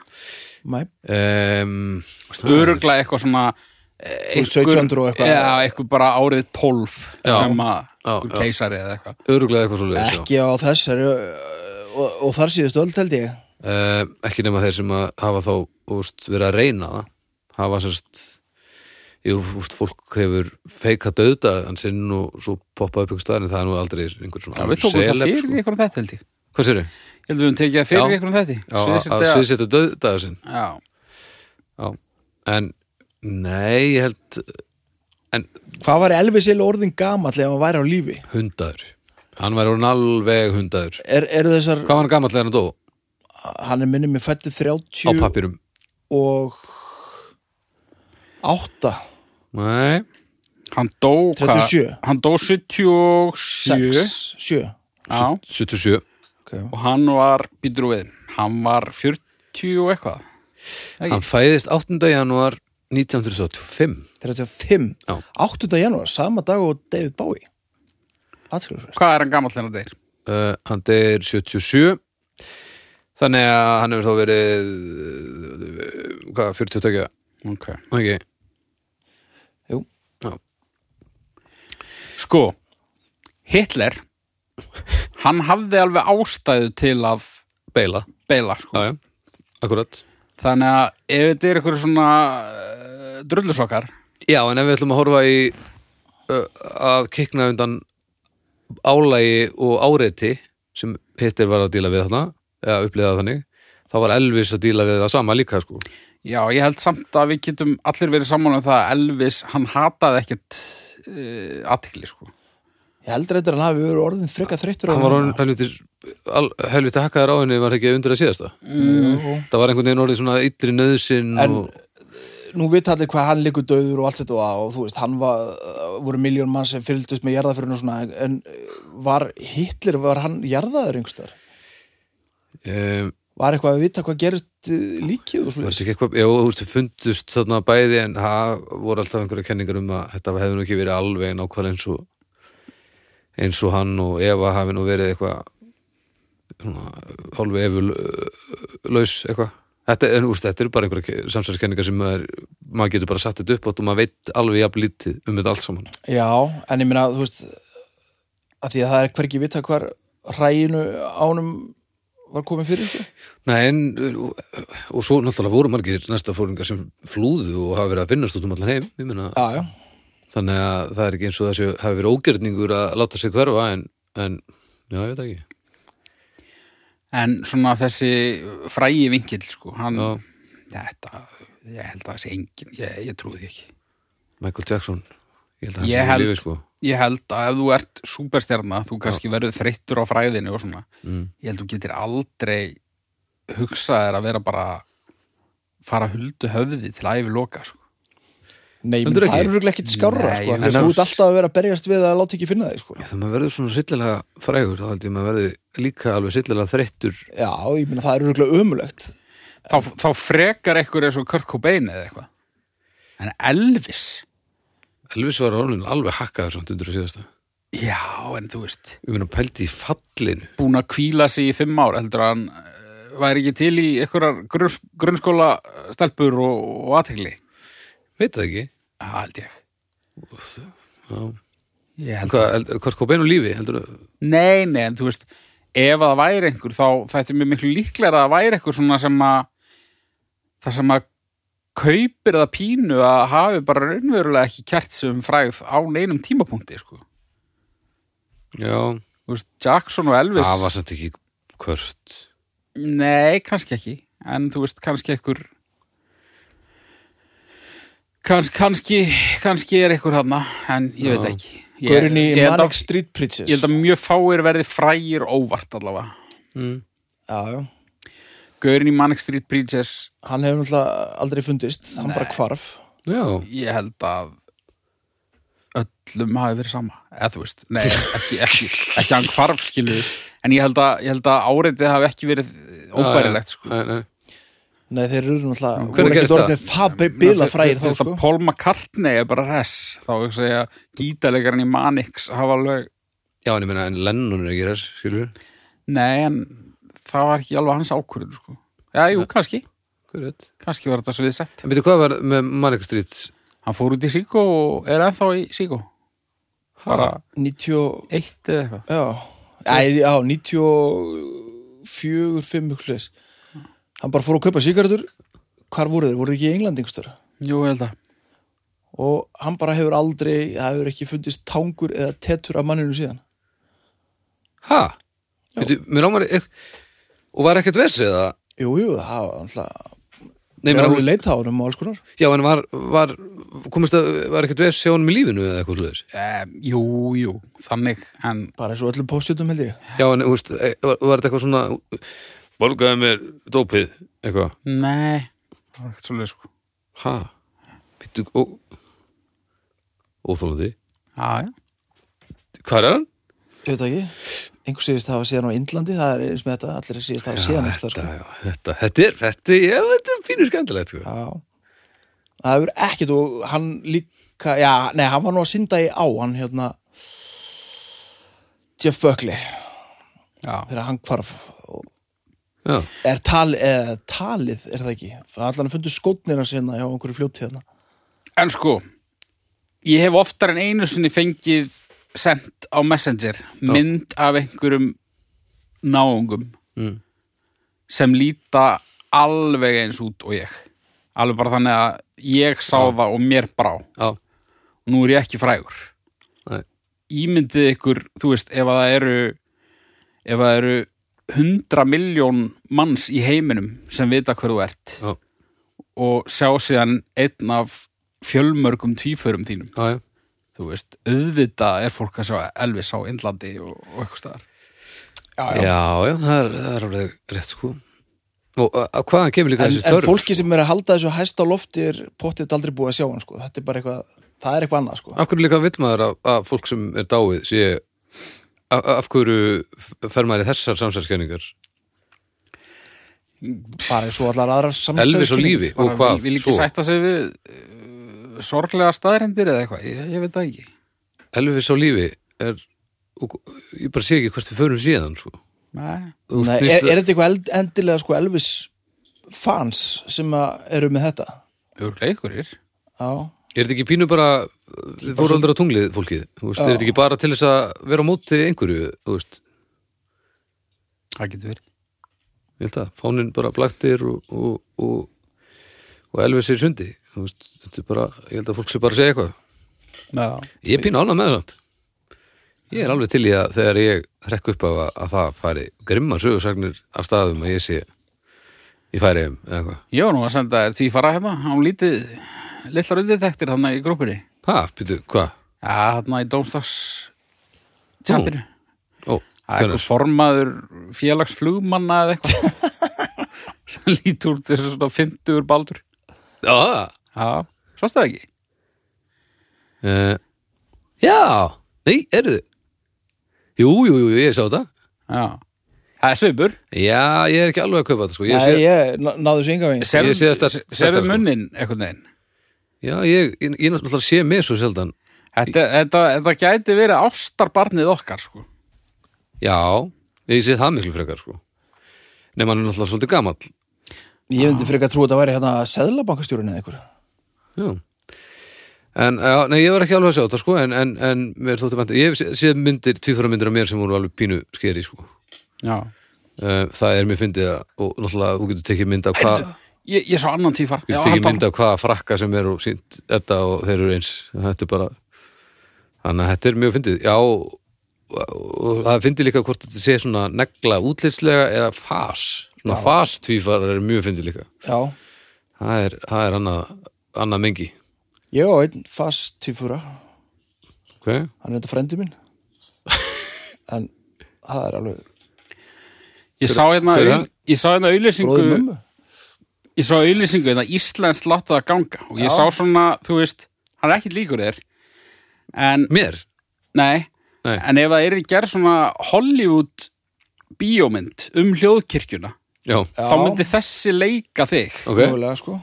Nei. um, Öruglega eitthvað svona Þú eh, ert 1700 og eitthvað. Já, eitthvað bara árið 12 Já. sem að Já, einhver já. keisari eða eitthvað öruglega eitthvað svo leiðis ekki á þessari uh, og, og þar síðustu öll held ég Eh, ekki nema þeir sem að hafa þá úst, verið að reyna það hafa sérst jú, úst, fólk hefur feika döðda hann sinn og svo poppa upp ykkur staðar en það er nú aldrei einhvern svona Já, alveg við tókum það celeb, fyrir sko. ykkur um þetta held ég hvað sér þau? Ég held við um tekið það fyrir Já. ykkur um þetta að Sviðsett sviðsetta döðdaðu sinn Já, já. en nei, ég held en Hvað var Elvis eða orðin gamall ef hann væri á lífi? hundaður hann var orðin alveg hundaður Er, er þessar, hvað var hann gamall þegar hann dó? hann er minnum í fættu á 30 pappirum og 8 nei, hann dó hvað? 37. Hann dó 77 6, 7 Já, 77 okay. og hann var, býtur þú við Hann var 40 og eitthvað Ekki. hann fæðist 8. janúar 1935 35, Já. 8. janúar sama dag og David Bowie Atkvæmst. Hvað er hann gamall þegar hann deyr? uh, hann deyr 77 þannig að hann hefur þá verið uh, hvað, 40 tökja Okay. okay. Jú. Sko, Hitler hann hafði alveg ástæðu til að beila, beila sko. já já, akkurat þannig að ef þetta er eitthvað svona uh, drullusokkar já, en ef við ætlum að horfa í uh, að kikna undan álægi og áreiti sem hittir var að díla við þarna eða uppliða þannig þá var Elvis að díla við það sama líka sko. Já, ég held samt að við getum allir verið sammála um það að Elvis, hann hataði ekkert uh, aðtikli sko. Ég heldur þetta að hann hafi verið orðin freka þreyttur á hann var þarna. orðinn helviti al- helviti hakkaður á henni var ekki undir að síðasta mm. það var einhvern veginn orðið svona ytri nöðsinn En- og... Nú veit allir hvað hann liggur döður og allt þetta og, og þú veist, hann var, uh, voru miljón mann sem fylgdust með jarðafyrun og svona en uh, var Hitler, var hann jarðaður yngstar? Um, var eitthvað að vita hvað gerist eh, líkið og var slúið þetta ekki eitthvað, já, þú veist, þau fundust þarna bæði en það voru alltaf einhverja kenningar um að þetta hefði nú ekki verið alveg nákvæmlega eins og eins og hann og Eva hafi nú verið eitthvað hálfu eful laus eitthvað þetta, er- en, úst, þetta eru bara einhverja samsverðskenningar sem maður, maður getur bara satt þetta upp átt og maður veit alveg jafn lítið um þetta allt saman Já, en ég meina, þú veist að því að það er hvergi vita hvar hræinu ánum var komið fyrir sko. þessu Nei, en, og, og svo náttúrulega voru margir næsta fóringar sem flúðu og hafa verið að finnast út um allan heim ég meina, Já, já, þannig að það er ekki eins og þessi hafi verið ógjörningur að láta sig hverfa en, en já, ég veit það ekki En svona þessi frægi vinkill, sko, hann, þetta, ég held að það sé engin, ég, ég trúi því ekki. Michael Jackson, ég held að hann Ég sé held- í lífi sko. Ég held að ef þú ert súperstjarna, þú kannski verður þreyttur á fræðinu og svona, mm. ég held þú getur aldrei hugsað þér að vera bara fara huldu höfði til æfi loka, sko. nei, menn, Heldur það ekki? er örugglega ekkit skárra Nei, sko, ég því að meina- þú ert alltaf að vera að berjast við að láta ekki finna þig sko. Já, það maður verður svona hryllilega frægur þá held ég maður verður líka alveg hryllilega þreyttur Já, ég meina, það er örugglega ömulegt Þá, þá frekar ekkur eins og Kurt Cobain eða eitthvað. En Elvis, Elvis var orðin alveg hakkaður samt undir að síðasta já, en þú veist, ég meina pældi í fallinu búin að kvíla sig í fimm ár heldur að hann eh, væri ekki til í einhverjar grunns, grunnskóla stelpur og, og aðtegli veit það ekki það held ég, Já. ég held Hvað, held- Kurt Cobain og lífi heldur þú? nei, nei, en þú veist ef að það væri einhver þá þetta er mér miklu líklega að það væri einhver svona sem að það sem að kaupir það pínu að hafi bara raunverulega ekki kert sem fræð á neinum tímapunkti sko. Já, Þú veist, Jackson og Elvis það var samt ekki Kurt Nei, kannski ekki en þú veist, kannski ekkur Kans, kannski, kannski er ekkur hana en ég veit Já. ekki ég, Gaurin í ég, held Manic að, Street Preachers ég held að mjög fáir verði frægir óvart allavega mm. Já, já, Gaurin í Manic Street Preachers hann hefur náttúrulega aldrei fundist Hann bara hvarf Já, ég held að öllum hafi verið sama eða þú veist, nei, ekki, ekki, ekki hann hvarf skilu, en ég held að, ég held að áreitið hafi ekki verið óbærilegt sko. nei, nei. Nei, þeir eru náttúrulega, Mm. Hvernig voru gerist ekki það? orðin það bila fræðir þá Fyrst sko að Paul McCartney er bara res þá er ekki að gítalegarinn í Manix hafa alveg, Já, en ég meina, en Lennon er ekki res, skilur nei en það var ekki alveg hans ákvörður sko. Já, jú, kannski, Hvað er þetta? kannski var þetta sviðsett En veitir hvað var með Manic Street? Hann fór út í Síkó og er ennþá í Síkó bara 90, og- eitt eða eitthvað já, Æ, já 94, 5 huglis Hann bara fór að kaupa sigardur Hvar voru þeir? Voru þeir ekki í Englandi yngstur? Jú, ég held að, Og hann bara hefur aldrei, það hefur ekki fundist tangur eða tettur af manninu síðan Ha? Veitir, mér ámar Og var ekkert res eða? Jú, jú, það var alltaf Nei, Þeir mér eru ámar, leita á honum og alls konar já, en var, var komist að, var ekkert res hjá honum í lífinu eða eitthvað slúðis? um, jú, jú þannig, en Bara eins og öllum postjötum held ég Já, en, þú veist, e- var, var þetta eitthvað svona Borgaði mér dópið eitthvað, nei, það var ekkert svolítið sko ha? Bittu, ó Óþólandi Já, já, Hvað er hann? Ég veit það ekki, einhver segist hafa síðan á Indlandi Það er eins með þetta, allir segist hafa síðan eftir, Þetta, já, þetta, þetta er, þetta, já, þetta er pínu skemmtilegt sko. Já Það hefur ekkert og hann líka Já, nei, hann var nú að synda í á Hann hérna Jeff Buckley já, þegar hann hvarf og Já, Er tal, eða, talið, er það ekki Það allan að fundu skotnina sinna hjá einhverju hérna. fljóttíðana En sko, ég hef oftar en einu sinni fengið sendt á Messenger mynd af einhverjum náungum Mm. sem líta alveg eins út og ég. Alveg bara þannig að ég sá það og mér brá. já, Nú er ég ekki frægur. Nei. Ímyndið ykkur, þú veist, ef að það eru ef að það eru 100 miljón manns í heiminum sem vita hver þú ert já, og sjá síðan einn af fjölmörgum tvíförum þínum já, já. þú veist, auðvitað er fólk að sjá Elvis á Indlandi og, og eitthvað staðar. Já, Já, já, það er, það er alveg rétt sko Og að- að hvaðan kemur líka En, þessi en þörf? sko. fólki sem er að halda þessu hæst á lofti er pottið aldrei búið að sjá hann sko. Þetta er bara eitthvað, það er eitthvað annað sko. Af hverju líka vill maður að, að fólk sem er dáið sé a- a- af hverju f- fer maður í þessar samsælskenningar bara eins og allar aðrar samsæðiskenningar. Elvis og lífi og Bara hvað vil, vil ekki svo? sætta sig við uh, sorglega staðarindir eða eitthvað, ég, ég veit það ekki. Elvis og lífi er og, ég bara sé ekki hvert við förum síðan sko. Nei. Þú Nei, er, snýst- er þetta eitthvað eld- endilega sko Elvis fans sem að eru með þetta? Örglega ykkurir. Já, Er þetta ekki pínu bara við fóru aldrei á tunglið fólkið þú veist, er þetta ekki bara til þess að vera á móti einhverju, þú veist Það getur verið. ég held að, fáninn bara blaktir og, og, og, og Elvis er í sundi þú veist, þetta er bara, ég held að fólk sé bara að segja eitthvað Já. ég er pínu ánað með það ég er alveg til í að þegar ég hrekk upp af að, að það fari grimmar sögursagnir af staðum að ég sé ég færi heim eða eitthvað Ég var nú að senda þér því fara hérna, án lítið, litlar undirþektir hann í grúpinni. ha, býtu, hvað? Já, þarna í Dómstags tjaldinu. Ó, Það er hvernig? eitthvað formaður félagsflugmanna eða eitthvað. Sem lítur út þessu svona 50 baldur. Já, það Já, svo það ekki. Uh, já, nei, eru þið? Jú, jú, jú, ég sá þetta. Já. Það er svipur. Já, ég er ekki alveg að kaupa þetta, sko. Ég Nei, sé, ég ná- náðu þessu ynga veginn Ég sé það sterk- sterkara, Serðu sko. munnin einhvern veginn. já, ég, ég, ég náttúrulega sé mig svo sjaldan. Þetta, þetta, þetta gæti verið ástarbarnið okkar, sko. Já, ég sé það miklu frekar, sko. Nei, mann er náttúrulega svolítið gamall. Ég myndi frekar að trú að það væri hérna seðlabankastjórinn eða einhver Já. En, já, nei, ég var ekki alveg að sjá þetta, sko, en, en, en mér þótti vant. Ég sé, sé myndir, tvífara myndir af mér sem voru alveg pínu skeri, sko. Já. Uh, það er mér fyndið að, og náttúrulega, þú getur tekið mynd af hvað, Ég, ég sá annan tífar. getur tekið mynd af hvaða frakka sem er og sínt þetta og þeir eru eins. Þetta er bara, þannig að þetta er mjög fyndið. Já, og og það fyndið líka hvort þetta sé svona negla útlitslega eða fas. Svona fas tvífarar er mjög fyndið líka. Já, Það er, það er annað, annað mengi. ég á einn fast tvífura Ok? Hann er þetta frendi minn En það er alveg Ég sá hérna, hver er au- það? ég sá hérna bróðið auðlýsingu, mömmu ég sá auðlýsingu hérna Íslands láttu að ganga og ég Já. sá svona, þú veist, hann er ekkit líkur þér, en, Mér? nei, Nei. en ef það er gerð svona Hollywood bíómynd um hljóðkirkjuna, Já. Já, þá myndi þessi leika þig. Ok? mögulega, sko.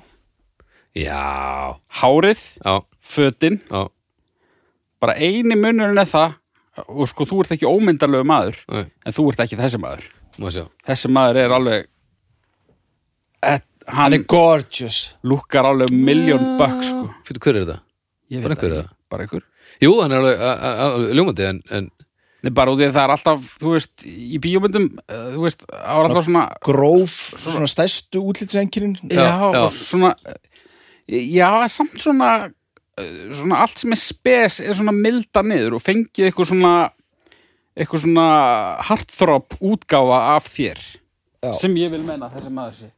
Já. Hárið, Já. fötin, Já. bara eini munurinn er það, og sko, þú ert ekki ómyndalögu maður, Nei, en þú ert ekki þessi maður. maður sjá. þessi maður er alveg Et, hann Hann er gorgeous lukkar alveg miljón bökk sko. Fyrir hver er þetta? Ég Bara veit einhver það eða? ekki, bara einhver Jú, hann er alveg, a- a- alveg ljómandi, en, en Nei, bara út í að það er alltaf, þú veist, í bíómyndum eh, þú veist, það var alltaf svona Gróf, svona stærstu útlitsengirin já, já. og svona eh, já, samt svona eh, svona allt sem er spes er svona milda niður og fengið eitthvað svona eitthvað svona hartþróp útgáfa af þér Já. sem ég vil menna þessi maður sé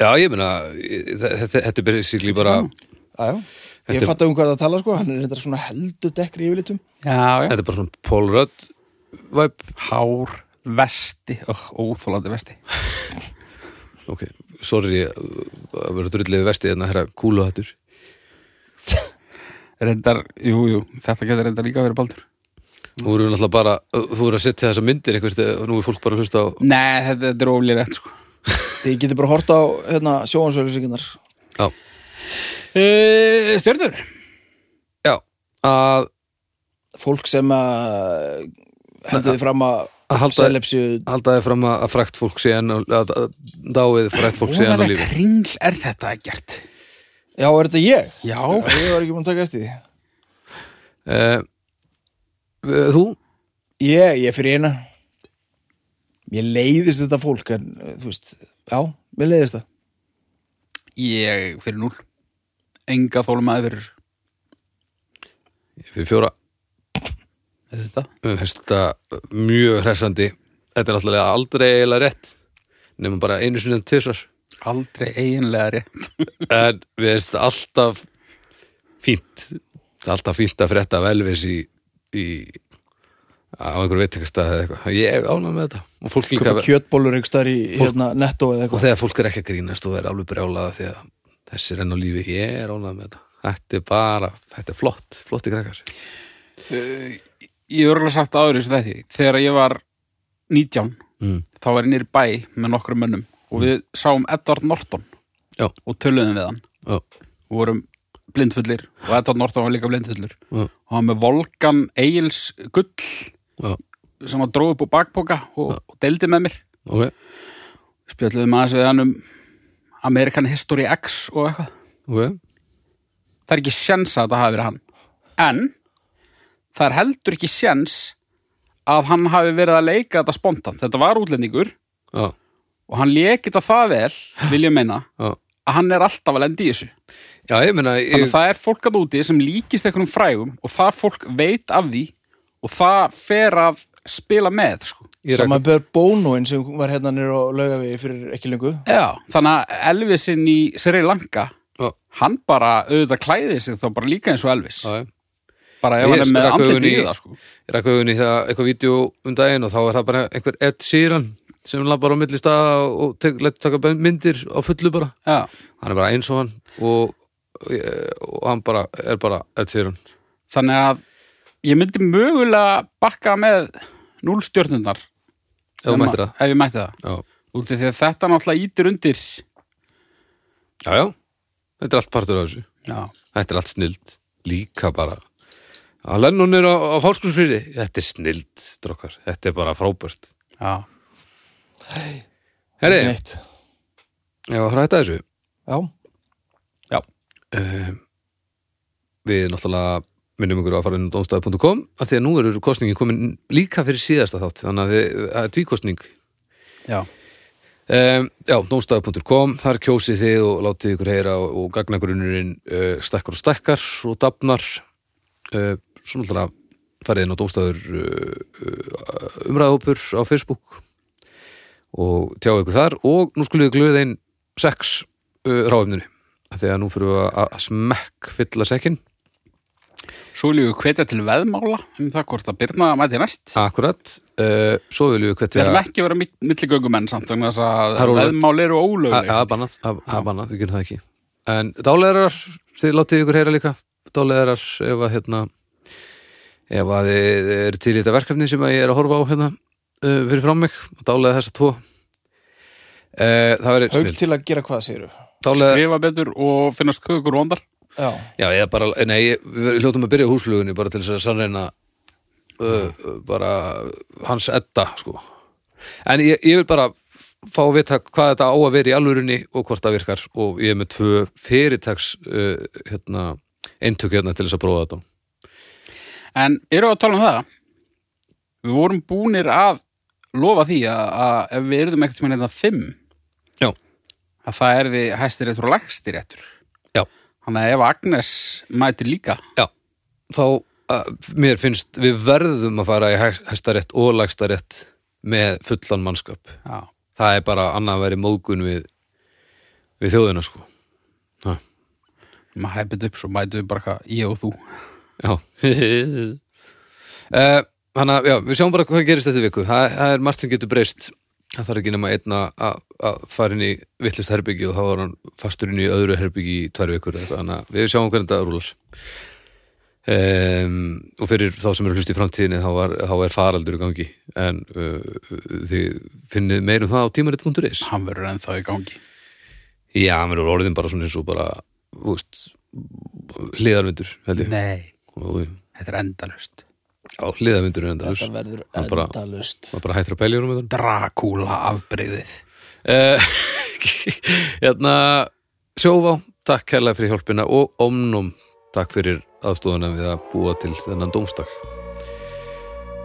já, ég meina, ég- þe- þetta þetta er basically bara, Já, já Ég Þetta- fatt að um hvað það er að tala, sko Hann er þetta svona heldur dekkri yfirlitum já, þetta er bara svona Paul Rudd vibe hár, vesti oh, óþólandi vesti ok, sorry uh, að vera drullið vestið en að herra kúluhattur reyndar, jú, jú, þetta getur reyndar líka verið baldur þú eru náttúrulega bara, uh, þú eru að setja þessa myndir einhvert eh, og nú er fólk bara að hlusta á Nei, þetta, þetta er oflilegt sko. Þið getur bara hort á hérna, sjóansölusinginnar já, uh, Stjörnur já að, Fólk sem að hendiði fram að að halda selepsju haldaði fram að, að frækt fólk sé enn á- að, að dáið frækt fólk sé enn á lífi Óðalegt ringl er þetta gert Já, er þetta ég? Já, Já, ég var ekki búin að taka eftir því uh, eh, þú, Ég, ég fyrir eina Mér leiðist þetta fólk en, eh, þú veist, já, mér leiðist það ég fyrir núl Enga þólum aðeins Ég fyrir fjóra fyrir þetta Mér finnst þetta mjög hressandi þetta er náttúrulega aldrei eiginlega rétt nema bara einu sinni en tvisvar Aldrei eiginlega rétt en við veist alltaf fínt Það er alltaf fínt að frétta velvis í, í á einhverju veitingastað eða eitthvað ég er ánað með þetta og fólk líka Köpa kjötbólur ykkur starf í Fólk- hérna, netto eða og eitthvað þegar fólk er ekki að grínast og er alveg brjálaða því að þessi er enn á lífi ég er ánað með þetta þetta er bara, þetta er flott, flotti krakkar Ég er örgulega sagt áður þessu þetta Þegar ég var 19 mm. þá var ég nýr bæ með nokkrum mönnum og við sáum Edvard Norton Já. og töluðum við hann Já. og vorum blindfullir og Edvard Norton var líka blindfullur Já. og hann með Volkan Egils gull Já. sem að dróð upp á bakpoka og, og deildi með mér ok, spjöldum aðeins við hann um American History X og eitthvað ok það er ekki sjens að þetta hafi verið hann en það er heldur ekki sjens að hann hafi verið að leika þetta spontan þetta var útlendingur Já, og hann leik þetta það vel vil ég meina já. að hann er alltaf að lendi í þessu já ég meina ég, þannig að það er fólk að úti sem líkist einhvernum frægum og það fólk veit af því og það fer að spila með sko. ég rak- Saman bör bónóin sem var hérna nýr á laugavegi fyrir ekki lengu Já. þannig að Elvisin í Sri Lanka Já. hann bara auðvitað klæði sig þá bara líka eins og Elvis Já, já. bara Ég ef hann er með sprakk augun andliti í- í það sko. ég rækka augun í það eitthvað vídeo um daginn og þá er það bara einhver Ed Sheeran sem labbar á milli staða og tek, letur taka ben- myndir á fullu bara Já. hann er bara eins og hann og, eh, og hann bara er bara Ed Sheeran þannig að ég myndi mögulega bakka með núlstjörnundar ef þú mættir það ef ég mætti það já. út af því að þetta náttúrulega ítir undir já, já, þetta er allt partur af þessu já, þetta er allt snild, líka bara að Lennon er á, á fáskursfríði þetta er snild, drokkar, þetta er bara frábært já. herri, Ekki okay. neitt. ég var að hætta þessu Já, já. Ehm, við náttúrulega minnum ykkur á að fara inn á domstæði.com að því að nú eru kostningin komin líka fyrir síðasta þátt þannig að þið- það er tvíkostning já. um, já, domstæði.com þar kjósið þið og látið ykkur heyra og, og gagnagrunnurinn uh, stekkar og stekkar og dafnar uh, svo náttúrulega farið inn á domstæður uh, uh, umræðhópur á Facebook og tjá ykkur þar og nú skulum við glöða inn sex uh, ráfumninu þegar nú fyrir við að- að smekk fylla sekkin svo viljum við hvetja til veðmála um það hvort að Birna mæti næst Akkurat, uh, svo viljum við við hvertja ætlum ekki að vera milligöngumenn samt vegna þess að Það er ólöglegt. veðmál eru ólögleg að bannað, að bannað, við gerum það ekki En dálegarar, þið látið ykkur heyra líka Dálegarar ef að hérna ef að þið eru til í þetta verkefni sem að ég er að horfa á hérna uh, fyrir frá mig, dálega þessa tvo uh, Það verið haug snill til að gera hvað séru Dálega, skrifa betur og finnast kökur óndar Já, já, ég bara, nei, ég- við hljótum að byrja á húsflugunni bara til þess að sannreina uh, uh, bara hans edda, sko En ég, ég vil bara fá að vita hvað þetta á að vera í alvörunni og hvort það virkar og ég er með tvö fyrirtags uh, hérna, eintök hérna til þess að prófa þetta en eru að tala um það við vorum búnir að lofa því að, að ef við erum ekkert með þetta hérna fimm Já. að það er því hæstir réttur og lægstir réttur Já. þannig að ef Agnes mætir líka þá uh, mér finnst við verðum að fara í hæstarétt og lagstarétt með fullan mannskap já, það er bara annað að vera í móðgun við, við þjóðina sko maður hæpið upp svo mætum við bara hvað ég og þú Já Eh, Þannig að já, við sjáum bara hvað gerist þetta viku það, það er margt sem getur breyst það þarf ekki nema einna að að fara inn í vittlist herbyggi og þá var hann fastur inn í öðru herbyggi í tvær vikur eða eitthvað. þannig að við sjáum hvernig þetta rúlar um, og fyrir þá sem eru hlust í framtíðinni þá, var, þá er faraldur í gangi en uh, þið finnið meir um það á tímarit.is hann verður ennþá í gangi Já, mér eru orðin bara svona eins og bara þú veist, hliðarvindur held ég nei, og, þetta er endalust já, hliðarvindur er endalus þetta verður Það bara- endalust var bara hættur að pælja um þetta Dracula afbreyðið uh, hérna sjófá, takk kærlega fyrir hjálpina og omnum, takk fyrir aðstofuna við að búa til þennan dómstak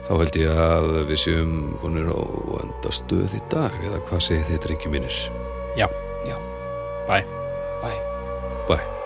þá held ég að við séum konur á enda stöð í dag eða hvað segir þið drengi mínir já, Já. bæ Bye bæ